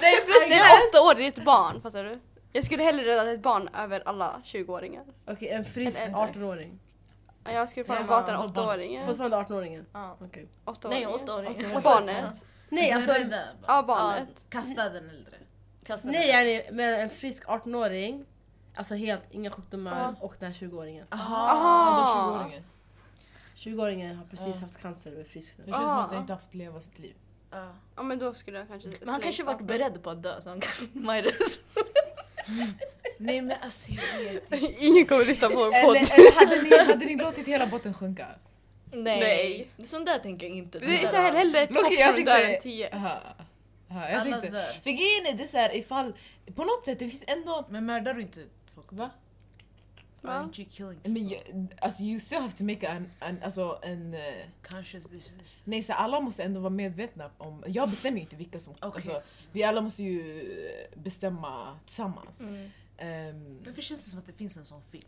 S4: Nej plus det är åtta år, det är ett barn fattar du? Jag skulle hellre rädda ett barn över alla 20-åringar.
S1: Okej, en frisk
S4: En äldre.
S1: 18-åring.
S4: Ja, Jag skulle
S5: Nej,
S4: fan
S5: man-
S4: vara en åttaåring.
S1: Fortfarande 18-åringen?
S4: Ja.
S1: Okej.
S4: Åttaåring.
S5: Nej, åttaåring.
S4: Och barnet.
S1: Nej, alltså,
S4: Ja, barnet.
S2: Kasta den äldre.
S5: Kasta
S1: nej
S5: den.
S1: yani, men en frisk 18-åring, alltså helt inga sjukdomar
S4: Ja.
S1: och den här 20-åringen.
S4: Aha!
S1: 20-åringen har precis
S3: Ja.
S1: haft cancer och är frisk nu.
S3: Det känns som att
S4: Ah.
S3: jag inte haft leva sitt liv.
S2: Ja.
S4: Ja men då skulle jag kanske
S5: Men han kanske varit beredd på att dö så han kan... My
S2: Nej men alltså jag vet inte.
S4: Ingen kommer lyssna på vår
S3: Eller,
S4: podd.
S3: eller hade, ni, hade ni låtit hela botten sjunka?
S5: Nej.
S4: Nej.
S5: Sånt där tänker jag inte.
S4: Det är inte
S5: där-
S4: heller ett
S3: Loki,
S4: hopp
S3: jag
S4: från
S3: tyckte-
S4: dörren 10.
S3: Aha. Aha, jag
S2: Alla
S3: tänkte.
S2: dör.
S3: För grejen är det så här, ifall, på något sätt det finns ändå...
S2: Men mördar du inte folk?
S3: Va?
S2: Aren't you killing
S3: Men jag- alltså you still have to make an, an, alltså en... eh,
S2: conscious decision?
S3: Nej så alla måste ändå vara medvetna om, jag bestämmer ju inte vilka som...
S2: Okej.
S3: Alltså, vi alla måste ju eh, bestämma tillsammans.
S6: Mm.
S3: Ehm,
S2: Varför känns det som att det finns en sån film?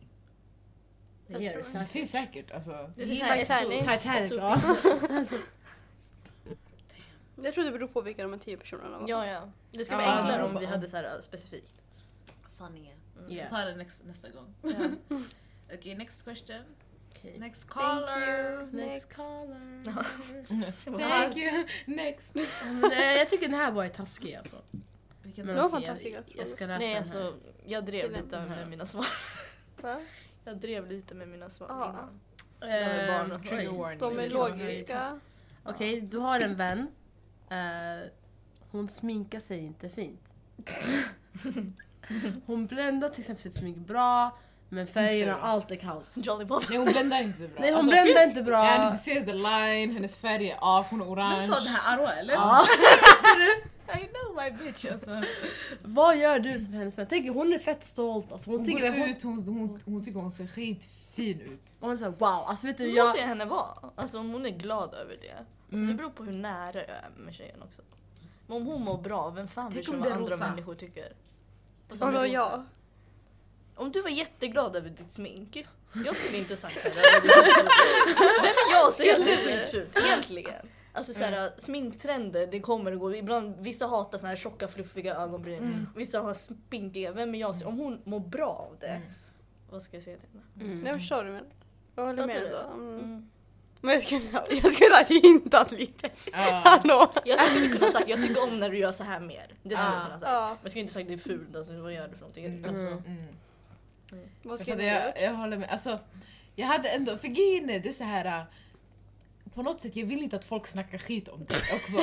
S1: Det gör det
S4: tror
S3: det
S1: säkert.
S3: finns säkert alltså.
S5: Det finns
S4: Vad
S5: här-
S4: säger ni?
S1: Titanic ja.
S4: Jag tror det beror på vilka de här 10 personerna var.
S5: Ja, ja. Det skulle
S3: Ja,
S5: vara enklare
S3: ja,
S5: om vi
S3: ja.
S5: hade så här äh, specifikt.
S2: Sanningen. Mm. Vi
S1: Yeah.
S2: tar den nästa, nästa gång. Okej, next question.
S1: Okej.
S2: Next
S4: Thank
S2: caller.
S4: you.
S1: Next caller.
S3: Thank you, next!
S1: Nej, eh, jag tycker den här var taskig alltså.
S2: Vilken
S1: Men
S4: Det var
S1: okej,
S4: fantastiska
S1: jag,
S4: frågor.
S1: jag ska läsa
S5: Nej,
S1: den här.
S5: alltså jag drev
S4: Den-
S5: lite
S1: den här.
S5: med mina svar.
S4: Va?
S5: Jag drev lite med mina svar
S4: Ja.
S5: innan.
S1: Eh,
S5: Jag är barn och så.
S1: trigger
S5: Oj.
S1: warning.
S4: De är
S1: Okej.
S4: logiska.
S1: Okej, du har en vän. Eh, hon sminkar sig inte fint. Hon bländar till exempel sitt smink bra, men färgerna, allt är kaos.
S5: Jolly Bob.
S3: Nej hon bländar inte bra.
S1: Nej, hon
S3: Alltså,
S1: bländar inte
S3: Ja,
S1: bra.
S3: du ser the line, hennes färg är av, hon är
S2: Vem
S3: orange.
S2: sa det här? Arwa eller?
S1: Ja.
S2: I know my bitch alltså.
S1: Vad gör du som hennes vän? Tänk, hon är fett stolt. Alltså, hon,
S3: Hon
S1: tycker
S3: går
S1: hon,
S3: ut, hon, hon, hon tycker hon ser skitfin ut.
S1: hon är såhär wow. Alltså vet du,
S5: Låt det
S1: jag...
S5: henne vara. Alltså om hon är glad över det. Alltså,
S3: Mm.
S5: Det beror på hur nära jag är med tjejen också. Men om hon mår bra, vem fan bryr
S2: Tänk
S5: sig
S2: om
S5: om
S2: det
S5: vad
S2: är
S5: andra
S2: rosa.
S5: människor tycker? Och så-
S4: Och då jag.
S5: Om du var jätteglad över ditt smink, jag skulle inte sagt såhär. Vem är jag att säga att det är skitfult egentligen? Alltså såhär,
S1: Mm.
S5: sminktrender det kommer och går. Ibland, vissa hatar såna här tjocka fluffiga ögonbryn.
S1: Mm.
S5: Vissa har spinkiga. Vem är jag? att säga- Om hon mår bra av det.
S1: Mm.
S5: Vad ska jag säga till henne?
S4: Nej, Jag förstår vad du menar. Jag håller
S5: Fattar
S4: med
S5: du?
S4: då. Mm.
S5: Mm.
S4: Men jag skulle, jag skulle ha hintat lite.
S3: Ja.
S4: Hallå!
S5: Jag skulle kunna sagt jag tycker om när du gör så här mer. Det skulle jag kunna sagt.
S4: Ja,
S5: Men jag skulle inte sagt det är fult, alltså, vad gör du för någonting? Alltså,
S1: Ah. Mm.
S3: Mm.
S4: vad
S3: Jag,
S4: ska
S3: fattar,
S4: vi göra?
S3: jag, jag håller med. Alltså, jag hade ändå, för grejen är det så här. äh, På något sätt, jag vill inte att folk snackar skit om dig också.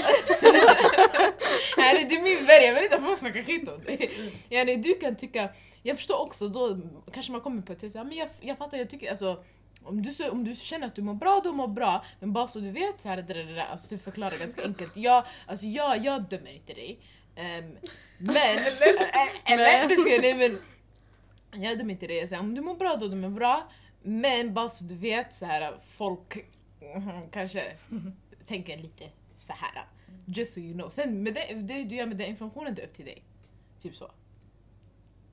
S3: Yani, det är min värld, jag vill inte att folk snackar skit om dig. Yani, du kan tycka, jag förstår också, då kanske man kommer på ett sätt, så här, men jag, jag fattar, jag tycker alltså om du, så, om du känner att du mår bra, då mår bra. Men bara så du vet, så här, det, det, det, alltså, du förklarar ganska enkelt. Jag, alltså, jag, jag dömer inte dig. Ehm, men... eller? Precis, nej, men jag dömer inte dig. Jag säger om du mår bra då du mår bra. Men bara så du vet så här folk mhm, kanske tänker lite så här. Just so you know. Sen med det, det du gör med den informationen det är upp till dig. Typ så.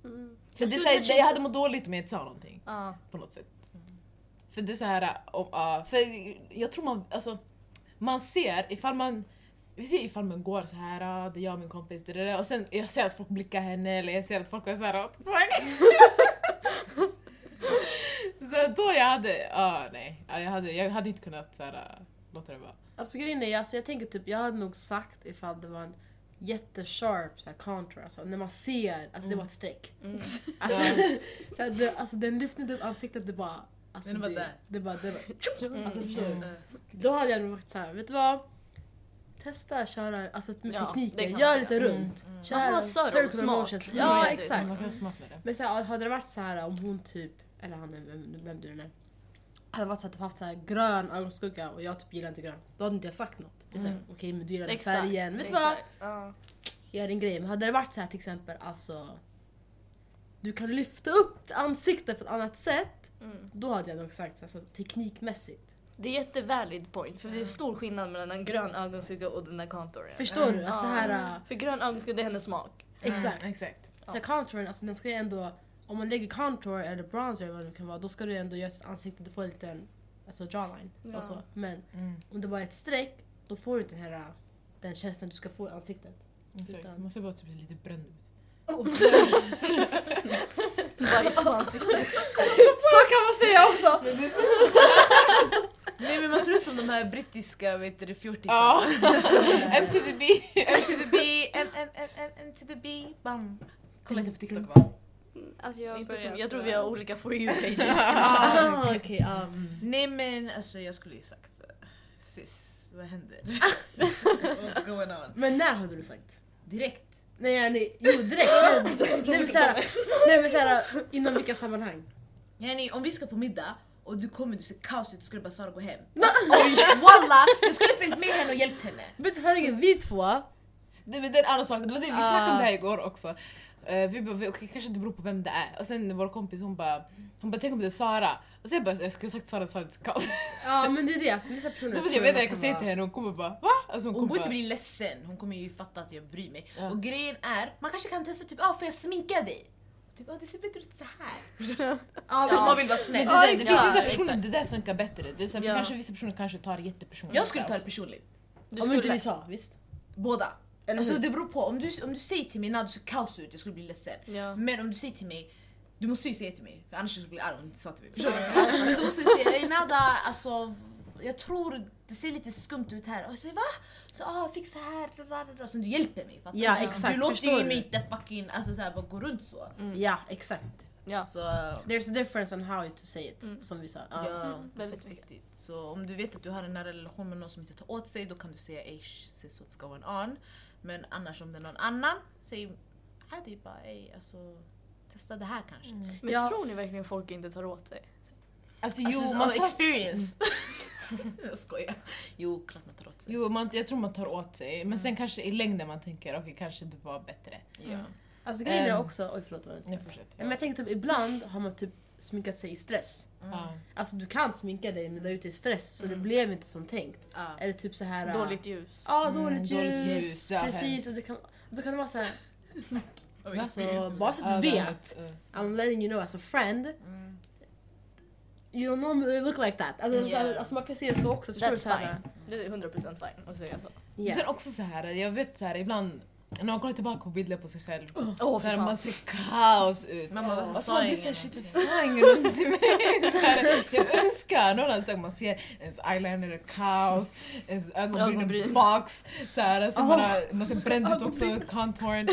S4: Mm.
S3: För det är
S5: skulle
S3: så här,
S5: kanske
S3: jag hade mått dåligt om jag inte sa någonting
S5: ja.
S3: på något sätt. För det är så här, om, ja, för jag tror man, alltså man ser ifall man vi ser ifall man går så här, ah, det är jag och min kompis, det, det, det. och sen jag ser att folk blickar henne eller jag ser att folk är så här, what the fuck? så då jag hade, ah, nej, ja, jag hade, jag hade inte kunnat så här, låta det vara.
S1: Alltså grejen är, alltså, jag tänker typ, jag hade nog sagt ifall det var en jättesharp så här, contour. Alltså, när man ser, alltså det var ett streck.
S5: Mm.
S1: Alltså, så här, det, alltså den lyfte upp ansiktet, det bara... Alltså,
S2: Den var
S1: det,
S2: där.
S1: Det bara, det bara
S5: Mm.
S1: alltså, förstår du?
S2: Eh,
S1: Då hade jag nog varit såhär, vet du vad? Testa att köra alltså, med
S5: Ja, det
S1: tekniken,
S5: kan
S1: gör
S5: man
S1: lite
S5: säga.
S1: runt.
S5: Man
S1: Kör
S5: har surr och
S1: circular
S5: smak.
S1: motions.
S5: Mm.
S1: Ja,
S5: Precis.
S1: exakt.
S5: Mm.
S3: Man kan smart med det.
S1: Men så här, hade det varit så här om hon typ, eller han, vem, vem du nu är. hade varit så att du haft så här grön ögonskugga och jag typ gillar inte grön. Då hade inte jag sagt något. Jag säger okej men du gillar den
S7: Mm. Exakt,
S1: färgen. Vet du vad?
S7: exakt.
S5: Ah.
S7: Ja.
S1: Gör din grej. Men hade det varit så här till exempel alltså. Du kan lyfta upp ansiktet på ett annat sätt.
S7: Mm.
S1: Då hade jag nog sagt alltså, teknikmässigt.
S7: Det är jättevalid point för det är stor skillnad mellan en grön ögonskugga och den där contouren.
S1: Förstår du? Alltså, så här, äh,
S7: För grön ögonskugga det är hennes smak.
S1: exakt.
S7: Mm.
S3: Mm, Exakt.
S1: Så här, contouren, alltså, den ska ju ändå, om man lägger contour eller bronzer eller vad det nu kan vara, då ska du ändå göra sitt ansikte, du får en liten alltså, jawline.
S7: Ja.
S1: Och så. Men
S3: Mm.
S1: om det bara är ett streck, då får du inte den här äh, den känslan du ska få i ansiktet.
S3: Exakt.
S1: Utan-
S3: Man ser bara typ lite bränd ut.
S7: Bajs på ansiktet.
S2: Så kan man säga också! Nej men man ser ut som de här brittiska vet du, det,
S1: Liksom.
S2: fjortisarna.
S3: MTDB.
S2: M to the B, M, M, M, M, M to the B, bam.
S3: Kolla inte på TikTok va?
S4: Alltså jag,
S7: Inte
S4: börjar,
S7: som, jag tror vi har olika for you pages.
S1: Ah, okej, ja.
S2: Nej men alltså jag skulle ju sagt eh, sis, vad händer? What's going on?
S1: Men när hade du sagt?
S2: Direkt.
S1: Nej, nej, jo direkt. Men- nej men såhär, nej, men såhär inom vilka sammanhang?
S2: Yani, om vi ska på middag och du kommer du ser kaos ut, skulle bara Sara gå hem. Walla, jag skulle följt med henne och hjälpt henne.
S1: Vet du sanningen, vi två
S3: Det, men det är en annan sak, det var det vi snackade om
S1: Ah.
S3: det här igår också. Eh, vi bara, vi- okej kanske det beror på vem det är. Och sen vår kompis hon bara, hon bara tänk om det är Sara. Och sen jag bara, jag skulle ha sagt Sara, Sara det kaos.
S1: Ja men det är det, alltså, vissa personer
S3: Det var
S1: tror
S3: jag vet att
S1: man
S3: jag kan
S1: kan
S3: säga
S1: vara-
S3: till henne, hon kommer bara va? Alltså
S2: Hon
S3: hon kommer
S2: kommer inte
S3: bara,
S2: bli ledsen, hon kommer ju fatta att jag bryr mig.
S3: Ja.
S2: Och grejen är, man kanske kan testa typ, ah, får jag sminka dig? Typ, ah, det ser bättre ut så här. ja, men man vill vara
S3: men
S2: snäll.
S3: det, där, det,
S2: Ja,
S3: finns vissa
S2: exakt.
S3: personer, det där funkar bättre. Det är så här, för
S7: Ja.
S3: kanske vissa personer kanske tar det jättepersonligt.
S2: Jag skulle ta det personligt.
S7: Du
S1: Om inte
S7: skulle.
S1: vi sa, visst?
S2: Båda.
S1: Eller
S2: alltså
S1: hur?
S2: det beror på, om du, om du säger till mig när du ser kaos ut, jag skulle bli ledsen.
S7: Ja.
S2: Men om du säger till mig, du måste ju säga till mig, för annars skulle jag bli arg om du inte sa till mig. Förstår du? Men du måste ju säga, "Ey, Nada, alltså jag tror det ser lite skumt ut här. Och jag säger va? Så ah, fix så här, ra, ra, ra." så du hjälper mig. Fattar
S1: Ja,
S2: du?
S1: exakt,
S2: Du låter
S1: förstår
S2: ju
S1: du? Mm.
S2: mig inte fucking, alltså såhär bara gå runt så.
S1: Ja, exakt.
S7: Ja.
S2: Så
S1: There's a difference on how to say it, som vi sa. Ja.
S2: ja,
S7: Väldigt
S2: väldigt viktigt. Så om du vet att du har en nära relation med någon som inte tar åt sig, då kan du säga ey sh, sis what's going on. Men annars om det är någon annan, säg hadi bara ey alltså testa det här kanske.
S7: Men
S1: Ja.
S7: tror ni verkligen folk inte tar åt sig?
S3: Alltså,
S2: Jo,
S3: jo,
S2: alltså,
S3: man
S2: man
S3: tar,
S2: experience. jag skojar. Jo, klart man tar åt sig.
S3: Mm. jo man, jag tror man tar åt sig. Men sen kanske i längden man tänker okej kanske du var bättre.
S2: Ja. Mm.
S1: Alltså grejen är
S3: Ehm.
S1: också, oj förlåt. vad jag-
S3: Nu fortsätter
S1: Men jag tänker typ ibland har man typ sminkat sig i stress.
S3: Ja.
S1: Alltså du kan sminka dig men du är ute i stress så det blev inte som tänkt.
S2: Ja.
S1: Eller typ så här. äh,
S7: Dåligt ljus.
S1: Ja,
S3: Mm,
S1: dåligt ljus.
S3: dåligt ljus, ja.
S1: Precis, och det kan, då kan det vara så här. Alltså,
S2: Experience.
S1: bara så
S3: Ja,
S1: att du
S3: det är
S1: vet.
S3: ett, eh,
S1: I'm letting you know as a friend.
S2: Mm.
S1: You don't normally look like that. Alltså,
S2: Yeah.
S1: så här, alltså man kan se det så också, förstår
S7: That's
S1: du? Så här, äh,
S7: fine. Det är 100% fine att säga så.
S1: yeah.
S3: Sen också så här, jag vet så här, ibland när man kollar tillbaka på bilder på sig själv,
S7: Åh,
S3: så
S7: fy
S3: här,
S7: fan.
S3: man ser kaos ut.
S2: Mamma varför
S3: Och så
S2: sa
S3: man blir
S2: ingen?
S3: såhär shit varför sa ingen någonting till mig? Så här, Jag önskar någon hade sagt man ser ens eyeliner är kaos, ens ögonbryn är
S7: Ögonbryn.
S3: box, så här, så man, har, man ser bränd ut också, contouren.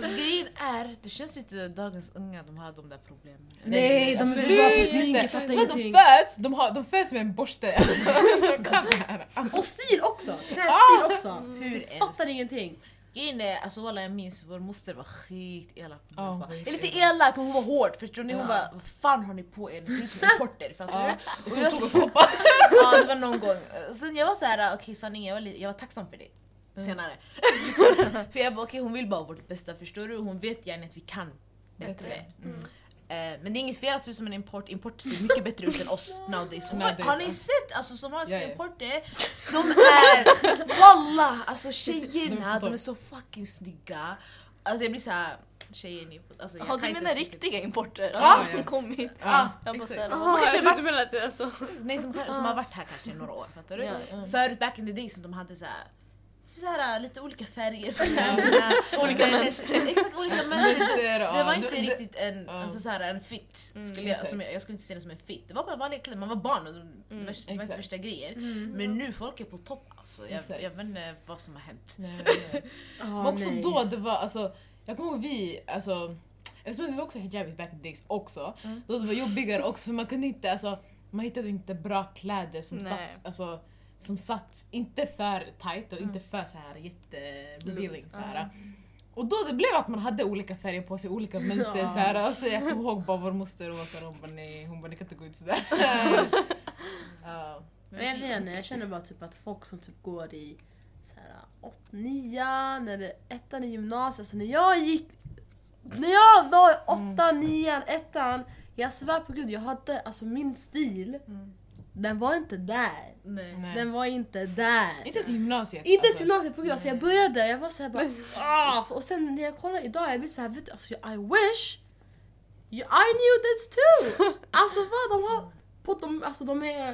S2: Fast grejen är, det känns inte dagens unga de har de där problemen.
S1: Nej, de är så
S3: absolut
S1: bra på
S3: inte.
S1: smink, jag fattar
S3: Men De
S1: ingenting.
S3: föds, de, har, de föds med en borste. Alltså, de kan det här.
S1: Och stil också! Klädstil också!
S2: Hur ens?
S1: Fattar ingenting.
S2: Grejen är, alltså walla jag minns vår moster var skitelak på
S3: Ja,
S2: mig. Oh,
S3: hon var
S2: Eller inte elak men hon var hård förstår ni? Hon bara vad fan har ni på er? Ni ser ut som importer fattar
S3: Ja.
S2: du?
S3: Och
S2: Och
S3: så
S2: jag-
S3: tog oss hoppa.
S2: Ja det var någon gång. Sen jag var så här, okej sanningen jag var, li- jag var tacksam för det. Senare. för jag bara okej hon vill bara vårt bästa förstår du? Hon vet gärna att vi kan bättre.
S3: Mm.
S2: Eh, men det är inget fel att se ut som en import, import ser mycket bättre ut än oss nowadays. Hon,
S3: Nowadays,
S2: har ni
S3: ja.
S2: sett alltså så många som
S3: Ja, ja.
S2: är importer? De är, walla! Alltså
S3: De är
S2: tjejerna de
S3: på
S2: är
S3: topp.
S2: så fucking snygga. Alltså jag blir såhär, tjejer ni är på- alltså, jag
S7: Ja,
S2: kan
S7: du
S2: inte
S7: menar
S2: se-
S7: riktiga importer?
S3: Ja,
S7: Alltså,
S3: ja.
S7: som kommit?
S3: Ja.
S7: Jag bara
S2: exakt.
S7: såhär,
S2: Som kanske har varit-
S5: menar att det är så.
S2: Nej som, kan- som har varit här kanske i några år, fattar du?
S7: Ja.
S5: Mm.
S2: Förut back in the day som de hade så här, så här äh, lite olika färger på kläderna. olika mönster. Exakt, olika mönster. Det var inte riktigt en,
S3: ja.
S2: alltså, så här, en fit,
S7: Mm,
S2: skulle jag,
S3: exakt.
S2: som jag, jag skulle inte se det som en fit. Det var bara vanliga kläder, man var barn och det var värsta- det var inte
S3: exakt.
S2: värsta grejer. Men nu folk är på topp alltså, jag,
S3: Exakt.
S2: jag vet inte vad som har hänt.
S3: Nej, nej, Ah, nej.
S1: Oh,
S3: Men också då, det var alltså, jag kommer ihåg vi, alltså, eftersom vi var också hijabis back in the days också, då det var jobbigare också för man kunde inte, alltså, man hittade inte bra kläder som
S7: Nej.
S3: satt, alltså, som satt inte för tight och inte för så här jätte revealing så här. Och då det blev att man hade olika färger på sig, olika mönster
S1: Ja.
S3: så här. Och så jag kommer ihåg bara vår moster och var så här, hon bara nej, hon bara ni kan inte gå ut sådär. Ja.
S1: Men jag, vet inte, jag känner bara typ att folk som typ går i så här, åt, nian eller ettan i gymnasiet, alltså när jag gick, när jag var i åttan, nian, ettan, jag svär på gud, jag hade, alltså min stil, den var inte där.
S2: Nej.
S3: Nej.
S1: Den var inte där.
S3: Inte ens i gymnasiet.
S1: Inte ens
S3: alltså.
S1: gymnasiet på gud, alltså jag började, jag var såhär bara "Ah", alltså, Och sen när jag kollar idag, jag blir såhär vet du, alltså I wish you, I knew this too! Alltså vad de har, på, de, alltså de är,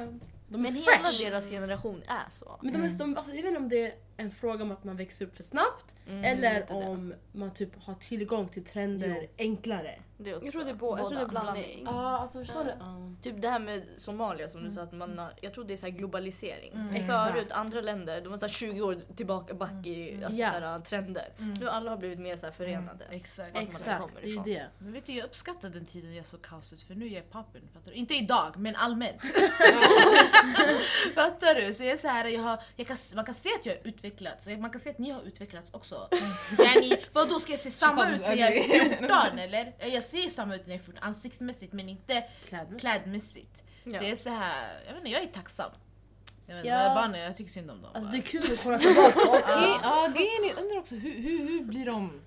S1: de är
S7: Men hela
S1: fresh.
S7: deras generation är så.
S1: Men de är, de, alltså, jag vet inte om det är en fråga om att man växer upp för snabbt eller om man typ har tillgång till trender enklare.
S7: Det är
S4: Jag tror
S7: också-
S4: det är, bo- jag tror det är Mm.
S7: båda.
S4: blandning.
S1: Ja, alltså förstår du?
S7: Typ det här med Somalia som du sa, att man har, jag tror det är så här globalisering.
S1: Exakt.
S7: Förut, andra länder, de var så här 20 år tillbaka back i alltså
S1: Ja.
S7: så här, trender. Nu alla har blivit mer så här förenade.
S2: Exakt.
S7: Vart man
S1: Exakt,
S7: kommer
S1: det är ju
S7: ifrån.
S1: det.
S2: Men vet du, jag uppskattar den tiden jag såg kaoset för nu är jag poppin. Fattar du? Inte idag, men allmänt. fattar du? Så jag är så här, jag har, jag kan, man kan se att jag har utvecklats, och man kan se att ni har utvecklats också.
S1: Mm.
S2: Yani, vadå, ska jag se samma ut som jag är 14 eller? Jag ser samma ut när jag är 14, ansiktsmässigt men inte
S1: Klädmässigt.
S2: klädmässigt. Så jag är så här, jag vet inte, jag är tacksam. Jag vet inte,
S1: Ja.
S2: ja. barnen, jag tycker synd om dem.
S1: Alltså det
S2: bara.
S1: är kul att kolla tillbaka också.
S3: Ge- Ja, grejen är, jag undrar också hur, hur, hur blir de,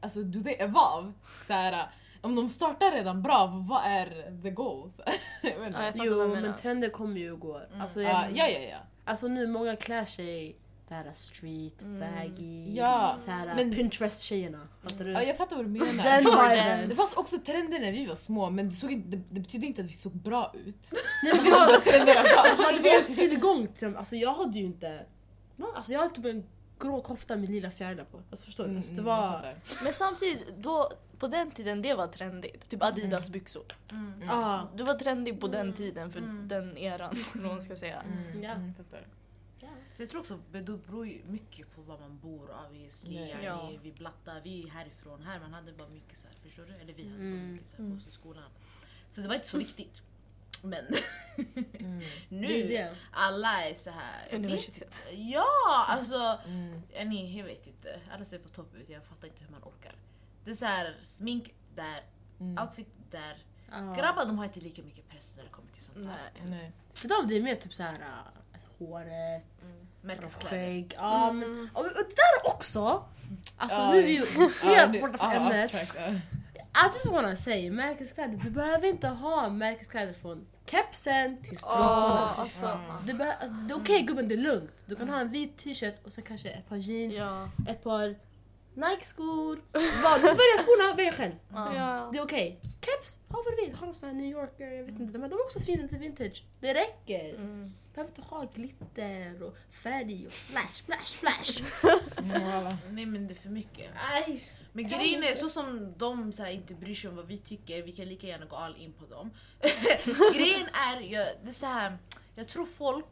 S3: alltså do they evolve? Så här, om de startar redan bra, vad är the goal? Så här, jag vet inte.
S7: Ja, jag fattar vad
S1: Jo
S7: du menar.
S1: men trender kommer ju och går. Alltså, jag,
S3: Ja, ja, ja, ja.
S1: Alltså nu, många klär sig det här street, baggy,
S3: Ja,
S1: så här,
S3: men-
S1: Pinterest-tjejerna. Fattar du?
S3: ja jag fattar vad du menar.
S1: Den
S3: det
S1: viben.
S3: fanns också trender när vi var små men det, såg, inte- det, det betydde inte att vi såg bra ut.
S1: Nej, men vi har,
S3: Trender
S1: alltså, hade vi ens tillgång till dem? Alltså jag hade ju inte... Va? Alltså jag hade typ en grå kofta med lila fjärilar på. Alltså förstår
S3: Mm,
S1: du? Alltså, det var...
S7: Men samtidigt, då, på den tiden det var trendigt. Typ Adidas byxor.
S2: Mm.
S3: mm,
S1: Ah,
S7: Du var trendig på den tiden för den eran. eller vad man ska säga.
S3: Mm.
S1: ja.
S2: Så jag tror också men det beror ju mycket på var man bor obviously.
S3: Nej.
S2: Yani,
S7: Ja.
S2: Vi blattar, vi är härifrån. Här man hade bara mycket så här, förstår du? Eller vi hade bara mycket så här på oss i skolan. Så det var inte så viktigt. Men
S1: mm,
S3: Mm,
S1: Det är
S2: nu,
S1: det.
S2: alla är så här. jag vet
S7: Universitet.
S2: inte. Ja, alltså.
S3: mm,
S2: Yani, jag vet inte. Alla ser på topp ut. Jag fattar inte hur man orkar. Det är så här, smink där,
S3: mm.
S2: outfit där. Grabbar de har inte lika mycket press när det kommer till sånt här.
S7: Nej.
S3: Nej.
S1: För dem det är mer typ så här, äh, alltså, håret,
S2: Märkeskläder.
S1: skägg. Ja, men, och, och det där också! Alltså
S3: Mm. Ja.
S1: nu är vi ju
S3: Ja,
S1: helt
S3: nu-
S1: borta
S3: ja,
S1: från ämnet.
S3: abstract, ja.
S1: I just wanna say, märkeskläder, du behöver inte ha märkeskläder från kepsen till strumpan.
S4: Ja, alltså.
S1: Det, beh- alltså, det är okej gubben, det är lugnt. Du kan ha en vit t-shirt och sen kanske ett par jeans,
S7: Ja.
S1: ett par Nike-skor. Vad, du väljer skorna, välj själv.
S4: Ja.
S1: Det är okej. Keps, ha vad du vill. Ha någon sån här New Yorker, jag vet inte. De, de är också fina till vintage. Det räcker.
S7: Mm.
S1: Behöver inte ha glitter och färg och splash, splash, splash.
S2: Nej men det är för mycket. Men grejen är så som de så här, inte bryr sig om vad vi tycker, vi kan lika gärna gå all in på dem. grejen är, jag, det är så här, jag tror folk,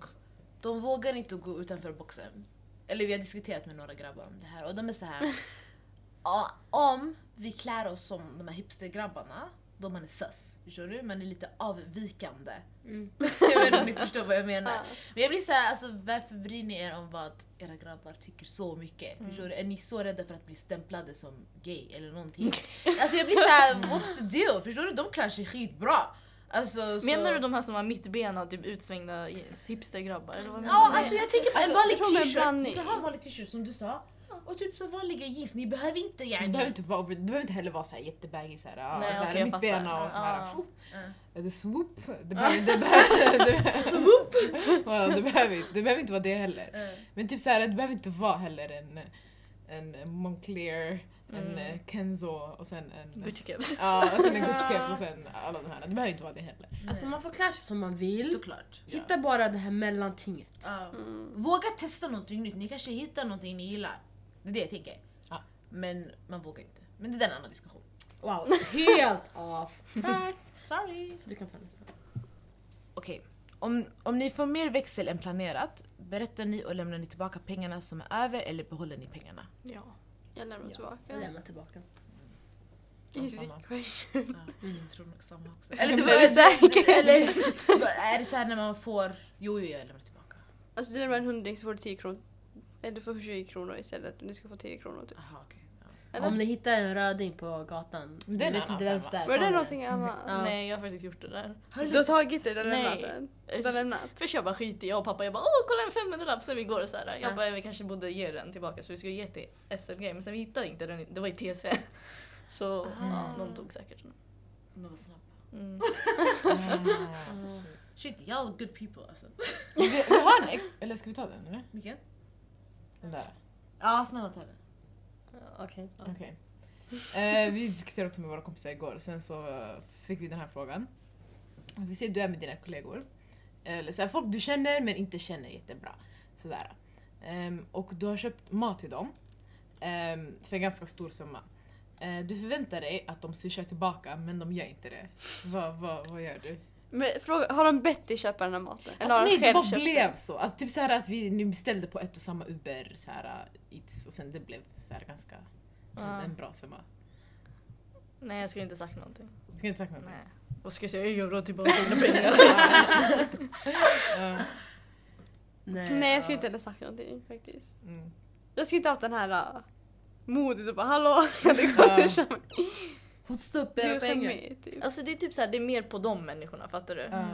S2: de vågar inte gå utanför boxen. Eller vi har diskuterat med några grabbar om det här och de är så här. "Ja, om vi klär oss som de här hipstergrabbarna, då man är sus. Förstår du? Man är lite avvikande.
S1: Mm.
S2: jag vet inte om ni förstår vad jag menar. Men jag blir såhär, alltså, varför bryr ni er om vad era grabbar tycker så mycket? Förstår du? Är ni så rädda för att bli stämplade som gay eller någonting? alltså jag blir såhär, what's the deal? Förstår du? De klär sig skitbra. Alltså, så...
S7: Menar du de här som har mittbena, typ utsvängda hipstergrabbar? Eller vad menar
S2: Ja,
S7: du?
S2: alltså jag tänker på en vanlig
S7: tror det är
S2: t-shirt.
S7: blandning.
S2: Ni kan ha en vanlig t-shirt som du sa. Och typ så vanliga jeans, ni behöver inte
S3: Du behöver
S2: gärna.
S3: inte, vara, over- du behöver inte heller vara såhär jättebaggig såhär, ja,
S7: Nej,
S3: såhär
S7: okej, jag
S3: mittbena
S7: fattar. Ah,
S3: och såhär.
S7: Ja.
S3: fuh. The swoop. Det behöver, det behöver, det behöver, Ja, det, behöver, inte- det behöver inte vara det heller.
S7: Eh.
S3: Men typ såhär, det behöver inte vara heller en, en Moncler, en eh, Kenzo och sen en...
S7: Mm. Gucci caps.
S3: Ja, och sen en Gucci cap och sen alla de här. Det behöver inte vara det heller.
S1: Alltså man får klä sig som man vill.
S2: Såklart.
S1: Hitta bara det här mellantinget.
S2: Ja.
S4: Mm.
S2: Våga testa någonting nytt, ni kanske hittar någonting ni gillar. Det är det jag tänker.
S3: Ja.
S2: Men man vågar inte. Men det där är en annan diskussion.
S1: Wow, helt off.
S2: Sorry.
S1: Du kan ta nästa.
S2: Okej, om, om ni får mer växel än planerat, berättar ni och lämnar ni tillbaka pengarna som är över eller behåller ni pengarna?
S7: Ja.
S4: Jag lämnar tillbaka.
S1: Jag lämnar tillbaka.
S4: Easy
S3: samma.
S4: question.
S2: Jag tror nog samma också. Eller, du,
S4: Men det är säkert.
S2: eller är det så här när man får... Jo, jo, jag lämnar tillbaka.
S4: Alltså du lämnar en hundring så får du 10 kronor. Eller du får 20 kronor istället. Du ska få 10 kronor typ.
S2: Aha, okej. Ja.
S1: Eller? Om ni hittar en röding på gatan,
S3: Det är en
S1: vet
S3: annan
S1: inte vems det
S3: femma.
S1: är.
S4: Var
S1: ta
S4: det
S1: den.
S4: någonting annat?
S1: Ja.
S7: Nej jag har faktiskt gjort det där.
S4: Du har tagit det, du har
S7: Nej.
S4: lämnat den?
S7: Jag-
S4: Du har lämnat?
S7: Först jag bara skit i jag och pappa, jag bara åh kolla en 500 lapp sen vi går och så här. Jag
S1: Ja.
S7: bara vi kanske borde ge den tillbaka så vi skulle ge till SLG men sen vi hittade inte den, det var i TSV. Så ja,
S3: Ah.
S7: någon tog säkert den.
S2: De var snabba.
S7: Mm.
S2: Shit, y'all are good people alltså.
S3: Ah. Vi, vi har en ex- eller ska vi ta den eller?
S2: Vilken?
S3: Den där.
S2: Ja, snälla ta den.
S1: Okej.
S3: Okej. Eh, vi diskuterade också med våra kompisar igår, sen så eh, fick vi den här frågan. Vi säger du är med dina kollegor. Eller så här, folk du känner men inte känner jättebra. Sådär. Ehm, och du har köpt mat till dem ehm, för en ganska stor summa. Eh, du förväntar dig att de swishar tillbaka men de gör inte det. Vad, vad, vad gör du?
S4: Men fråga, har de bett dig köpa den här maten?
S3: Alltså,
S4: Eller har
S3: nej,
S4: de
S3: det
S4: själv
S3: bara
S4: köpt
S3: blev
S4: den?
S3: så. Alltså, typ så här att vi nu beställde på ett och samma Uber, så här, uh, Eats, och sen det blev så här ganska en-
S7: Ja.
S3: en bra summa.
S7: Nej jag skulle inte sagt någonting.
S3: Ska inte sagt någonting?
S7: Nej. Vad ska jag säga? Jag vill ha tillbaka mina pengar.
S3: Ja.
S4: Nej jag skulle inte heller sagt någonting faktiskt.
S3: Mm.
S4: Jag skulle inte haft den här uh, modet och bara hallå, det kommer
S3: Ja.
S4: köpa
S1: Hosta upp
S4: Du
S1: era
S4: är
S1: pengar.
S4: charmig, typ.
S7: Alltså det är typ så här, det är mer på de människorna fattar du? Mm.
S3: Ja.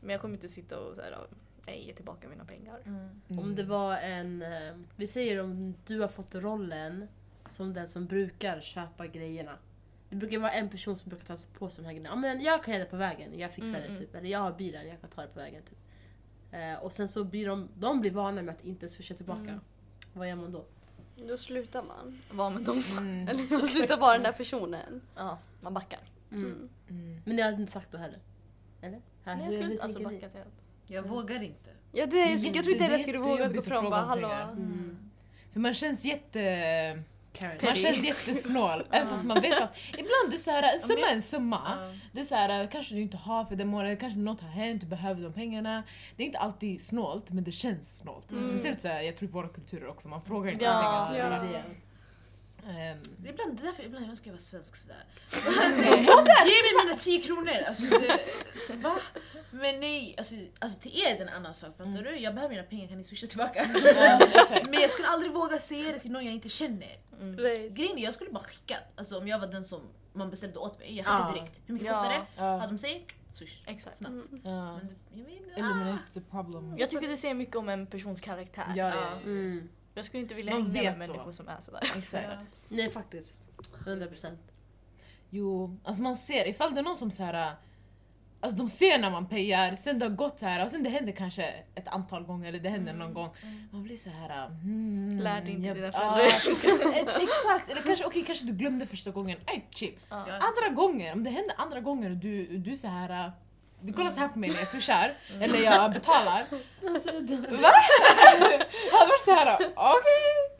S7: Men jag kommer inte sitta och så här, ja, nej ge tillbaka mina pengar.
S3: Mm.
S7: Mm.
S1: Om det var en... eh, Vi säger om du har fått rollen som den som brukar köpa grejerna. Det brukar vara en person som brukar ta på sig de här grejerna. Ja, men jag kan göra det på vägen, jag fixar
S7: Mm,
S1: det typ. Eller jag har bilen, jag kan ta det på vägen typ. Eh, Och sen så blir de, de blir vana med att inte swisha tillbaka.
S7: Mm.
S1: Vad gör man då?
S4: Då slutar man.
S7: Var med dem.
S3: Mm.
S4: Eller man slutar vara den där personen.
S7: Ja, man backar.
S1: Mm.
S4: Mm.
S3: Mm.
S1: Men det har jag inte sagt då heller. Eller?
S7: Nej
S1: Här, hur-
S7: jag skulle
S1: hur
S7: inte alltså
S1: tänker ni?
S7: backat helt.
S2: Jag vågar inte.
S4: Ja, det, jag, jag tror inte heller jag
S3: jätte-
S4: skulle våga gå
S3: jättejobbigt att
S4: fram och bara
S3: fråga om pengar.
S4: hallå.
S7: Mm.
S3: För man känns jätte...
S1: Mm. Karen.
S3: Man
S7: Petty.
S3: känns jättesnål. även fast man vet att ibland är så här, en summa är en summa.
S2: Ja.
S3: Det är så här, kanske du inte har för den månaden, kanske något har hänt, du behöver de pengarna. Det är inte alltid snålt, men det känns snålt. Speciellt så här, jag tror i våra kulturer också, man frågar inte om pengar.
S7: Ja,
S3: så
S1: Det
S3: här.
S1: är det.
S3: Ehm,
S2: Ibland, det är därför ibland jag önskar jag var svensk sådär. Ge mig mina 10 kronor! Alltså, det, va? Men nej, alltså, alltså till er är det en annan sak. Fattar
S3: Mm.
S2: du? Jag behöver mina pengar, kan ni swisha tillbaka?
S3: ja, exakt.
S2: Men jag skulle aldrig våga säga det till någon jag inte känner.
S7: Mm.
S4: Right.
S2: Grejen är, jag skulle bara skicka. Alltså om jag var den som man beställde åt mig. Jag skickade
S3: Ja.
S2: direkt. Hur mycket
S7: Ja.
S2: kostar det? Vad
S3: Ja,
S2: de säger? Swish.
S7: Exakt.
S3: Mm.
S2: Snabbt.
S4: Mm,
S3: ja. Mm.
S2: Men det, jag vet inte.
S3: Eliminate the problem.
S7: Jag tycker det säger mycket om en persons karaktär.
S3: Ja, ja, ja.
S1: Mm.
S7: Jag skulle inte vilja
S3: Man
S7: hänga
S3: vet
S7: med
S3: då.
S7: människor som är sådär.
S3: Exakt.
S1: Nej faktiskt. 100 procent.
S3: Jo, alltså man ser ifall det är någon som så här. äh, Alltså de ser när man pejar, sen det har gått så här och sen det händer kanske ett antal gånger eller det händer någon gång. Man blir så här. Mm,
S7: Mm, Lär dig inte
S3: jag-
S7: dina
S3: Ja,
S7: föräldrar.
S3: Exakt, eller kanske, okej kanske du glömde första gången, aj chip.
S2: Ja.
S3: Andra gånger, om det händer andra gånger och du, du så här. äh, Du kollar så
S7: Mm.
S3: här på mig när jag swishar, eller jag betalar.
S7: Alltså,
S3: Va? Jag hade varit så här. äh, okej.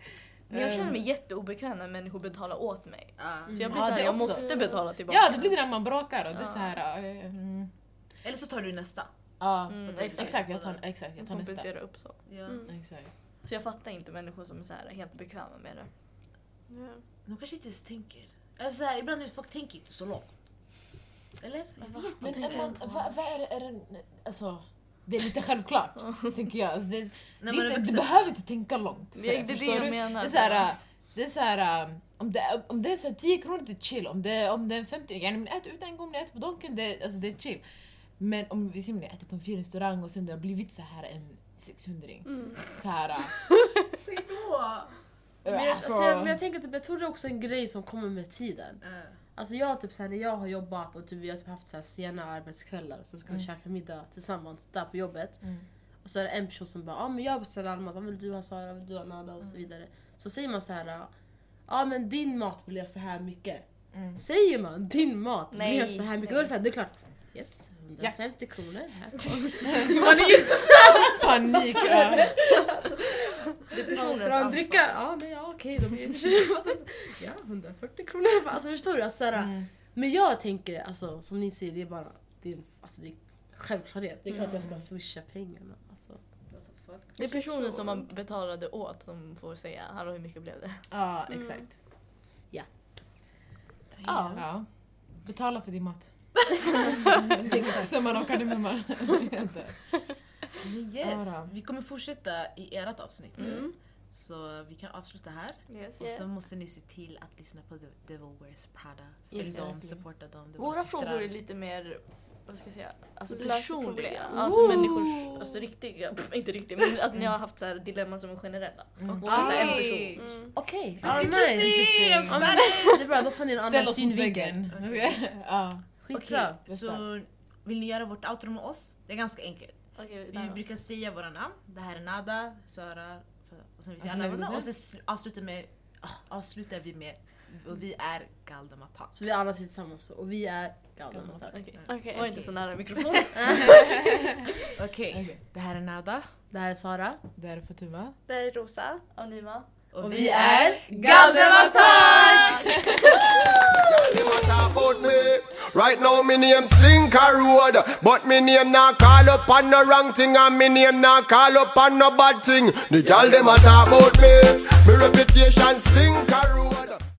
S7: Men jag känner mig jätteobekväm när människor betalar åt mig.
S2: Ja.
S7: Så jag blir
S3: Ehm. Mm. Ja,
S7: såhär,
S3: det
S7: jag
S3: också.
S7: måste betala tillbaka.
S3: Ja, det blir det där man bråkar och det är så här. äh, Mm,
S2: Eller så tar du nästa.
S3: ja,
S7: Mm,
S3: exakt.
S2: exakt.
S3: jag tar, exakt, jag tar nästa.
S7: kompensera upp så.
S2: Ja.
S4: Mm.
S3: Exakt.
S7: Så jag fattar inte människor som är såhär helt bekväma med det.
S4: Ja.
S2: De kanske inte ens tänker. Alltså så här, ibland är folk tänker inte så långt. Eller?
S3: Men är man, vad, vad är det, är det, alltså, det är lite självklart, tänker jag. Alltså, det, det
S2: När
S3: är
S2: man är
S3: inte, du
S2: vuxen.
S3: behöver inte tänka långt. för
S7: Det är det
S3: förstår
S7: jag
S3: du?
S7: menar.
S3: Det är såhär, äh, det är såhär, äh, om det, om det är så här 10 kronor det är chill, om det, om det är 50, yani men ät ut en gång, ni äter på Donken, det, alltså, det är chill. Men om vi ser om ni äter på en fin restaurang och sen det har blivit så här en 600
S4: Mm.
S3: så här, äh,
S1: Men jag,
S3: alltså,
S1: alltså, jag, men jag tänker typ, jag tror det är också en grej som kommer med tiden.
S2: Ja.
S1: Alltså jag typ såhär, när jag har jobbat och typ, vi har typ haft såhär sena arbetskvällar och så ska vi käka middag tillsammans där på jobbet. Och så är det en person som bara, ja ah, men jag beställer all mat, vad vill du ha Sara, vad vill du ha Nada och så vidare. Så säger man så här, ja ah, men din mat blev så här mycket. Säger man din mat
S7: Nej,
S1: blev så här mycket, då är det så här, det är klart. Yes, 150 kronor här.
S3: panik. ja.
S7: Det är
S1: Ja,
S7: personens
S1: Ska han
S7: ansvar.
S1: dricka? Ja, nej, ja okej, de är 20. Ja, 140 kronor. Alltså förstår du? Alltså, såhär,
S3: Mm.
S1: Men jag tänker, alltså, som ni säger, det är bara det är, en- alltså, det är självklarhet. Det är klart jag
S3: Mm.
S1: ska swisha pengarna. Alltså.
S7: Det är personen som man betalade åt som får säga, hallå hur mycket blev det?
S3: Ja, exakt.
S1: Ja.
S3: Ja. ja. Betala för din mat. Summan av kardemumman.
S2: Men yes,
S3: Ja då.
S5: Mm.
S2: vi kommer fortsätta i ert avsnitt nu. Så vi kan avsluta här.
S5: Yes.
S2: Och
S4: Yeah.
S2: så måste ni se till att lyssna på The Devil Wears Prada. Följ
S5: Yes.
S2: dem, supporta dem. Det är
S5: Våra
S2: våra systrar.
S5: frågor är lite mer, vad ska jag säga, alltså
S4: Löser
S5: personliga.
S4: problem.
S5: Alltså människors, alltså riktiga, inte riktiga, men att ni har haft så här dilemman som är generella.
S3: Mm.
S5: Och så en person.
S2: Hey!
S4: Mm.
S1: Okej,
S3: Ah,
S1: nice.
S3: Interesting!
S1: Ja, men Det är bra, då får ni en
S3: Ställ
S1: annan
S3: oss mot
S1: synvinkel.
S3: väggen. Okej. Ja.
S1: Skitbra.
S2: Okej, så vill ni göra vårt outro med oss? Det är ganska enkelt.
S5: Okej,
S2: Vi
S5: där då.
S2: brukar säga våra namn. Det här är Nada, Sara, och sen vi säger
S3: Alltså,
S2: alla
S3: vem
S2: våra namn.
S3: är
S2: Och sen sl- avslutar, med, ah, avslutar vi med och vi är Galdematan.
S1: Så vi alla sitter tillsammans så, och vi är galna. tack.
S5: Okej.
S4: Okej.
S5: Var inte så nära mikrofonen.
S2: Okej, det här är Nada.
S1: Det här är Sara.
S3: Det här är Fatima.
S4: Det här är Rosa.
S5: Anima.
S2: Och,
S1: Galdematak!
S8: Y'all dem a talk about me. Right now, me name Slinker Road, but me name not call up on no wrong thing, and me name not call up on no bad thing. The girl them a talk about me. Me reputation Slinker Road.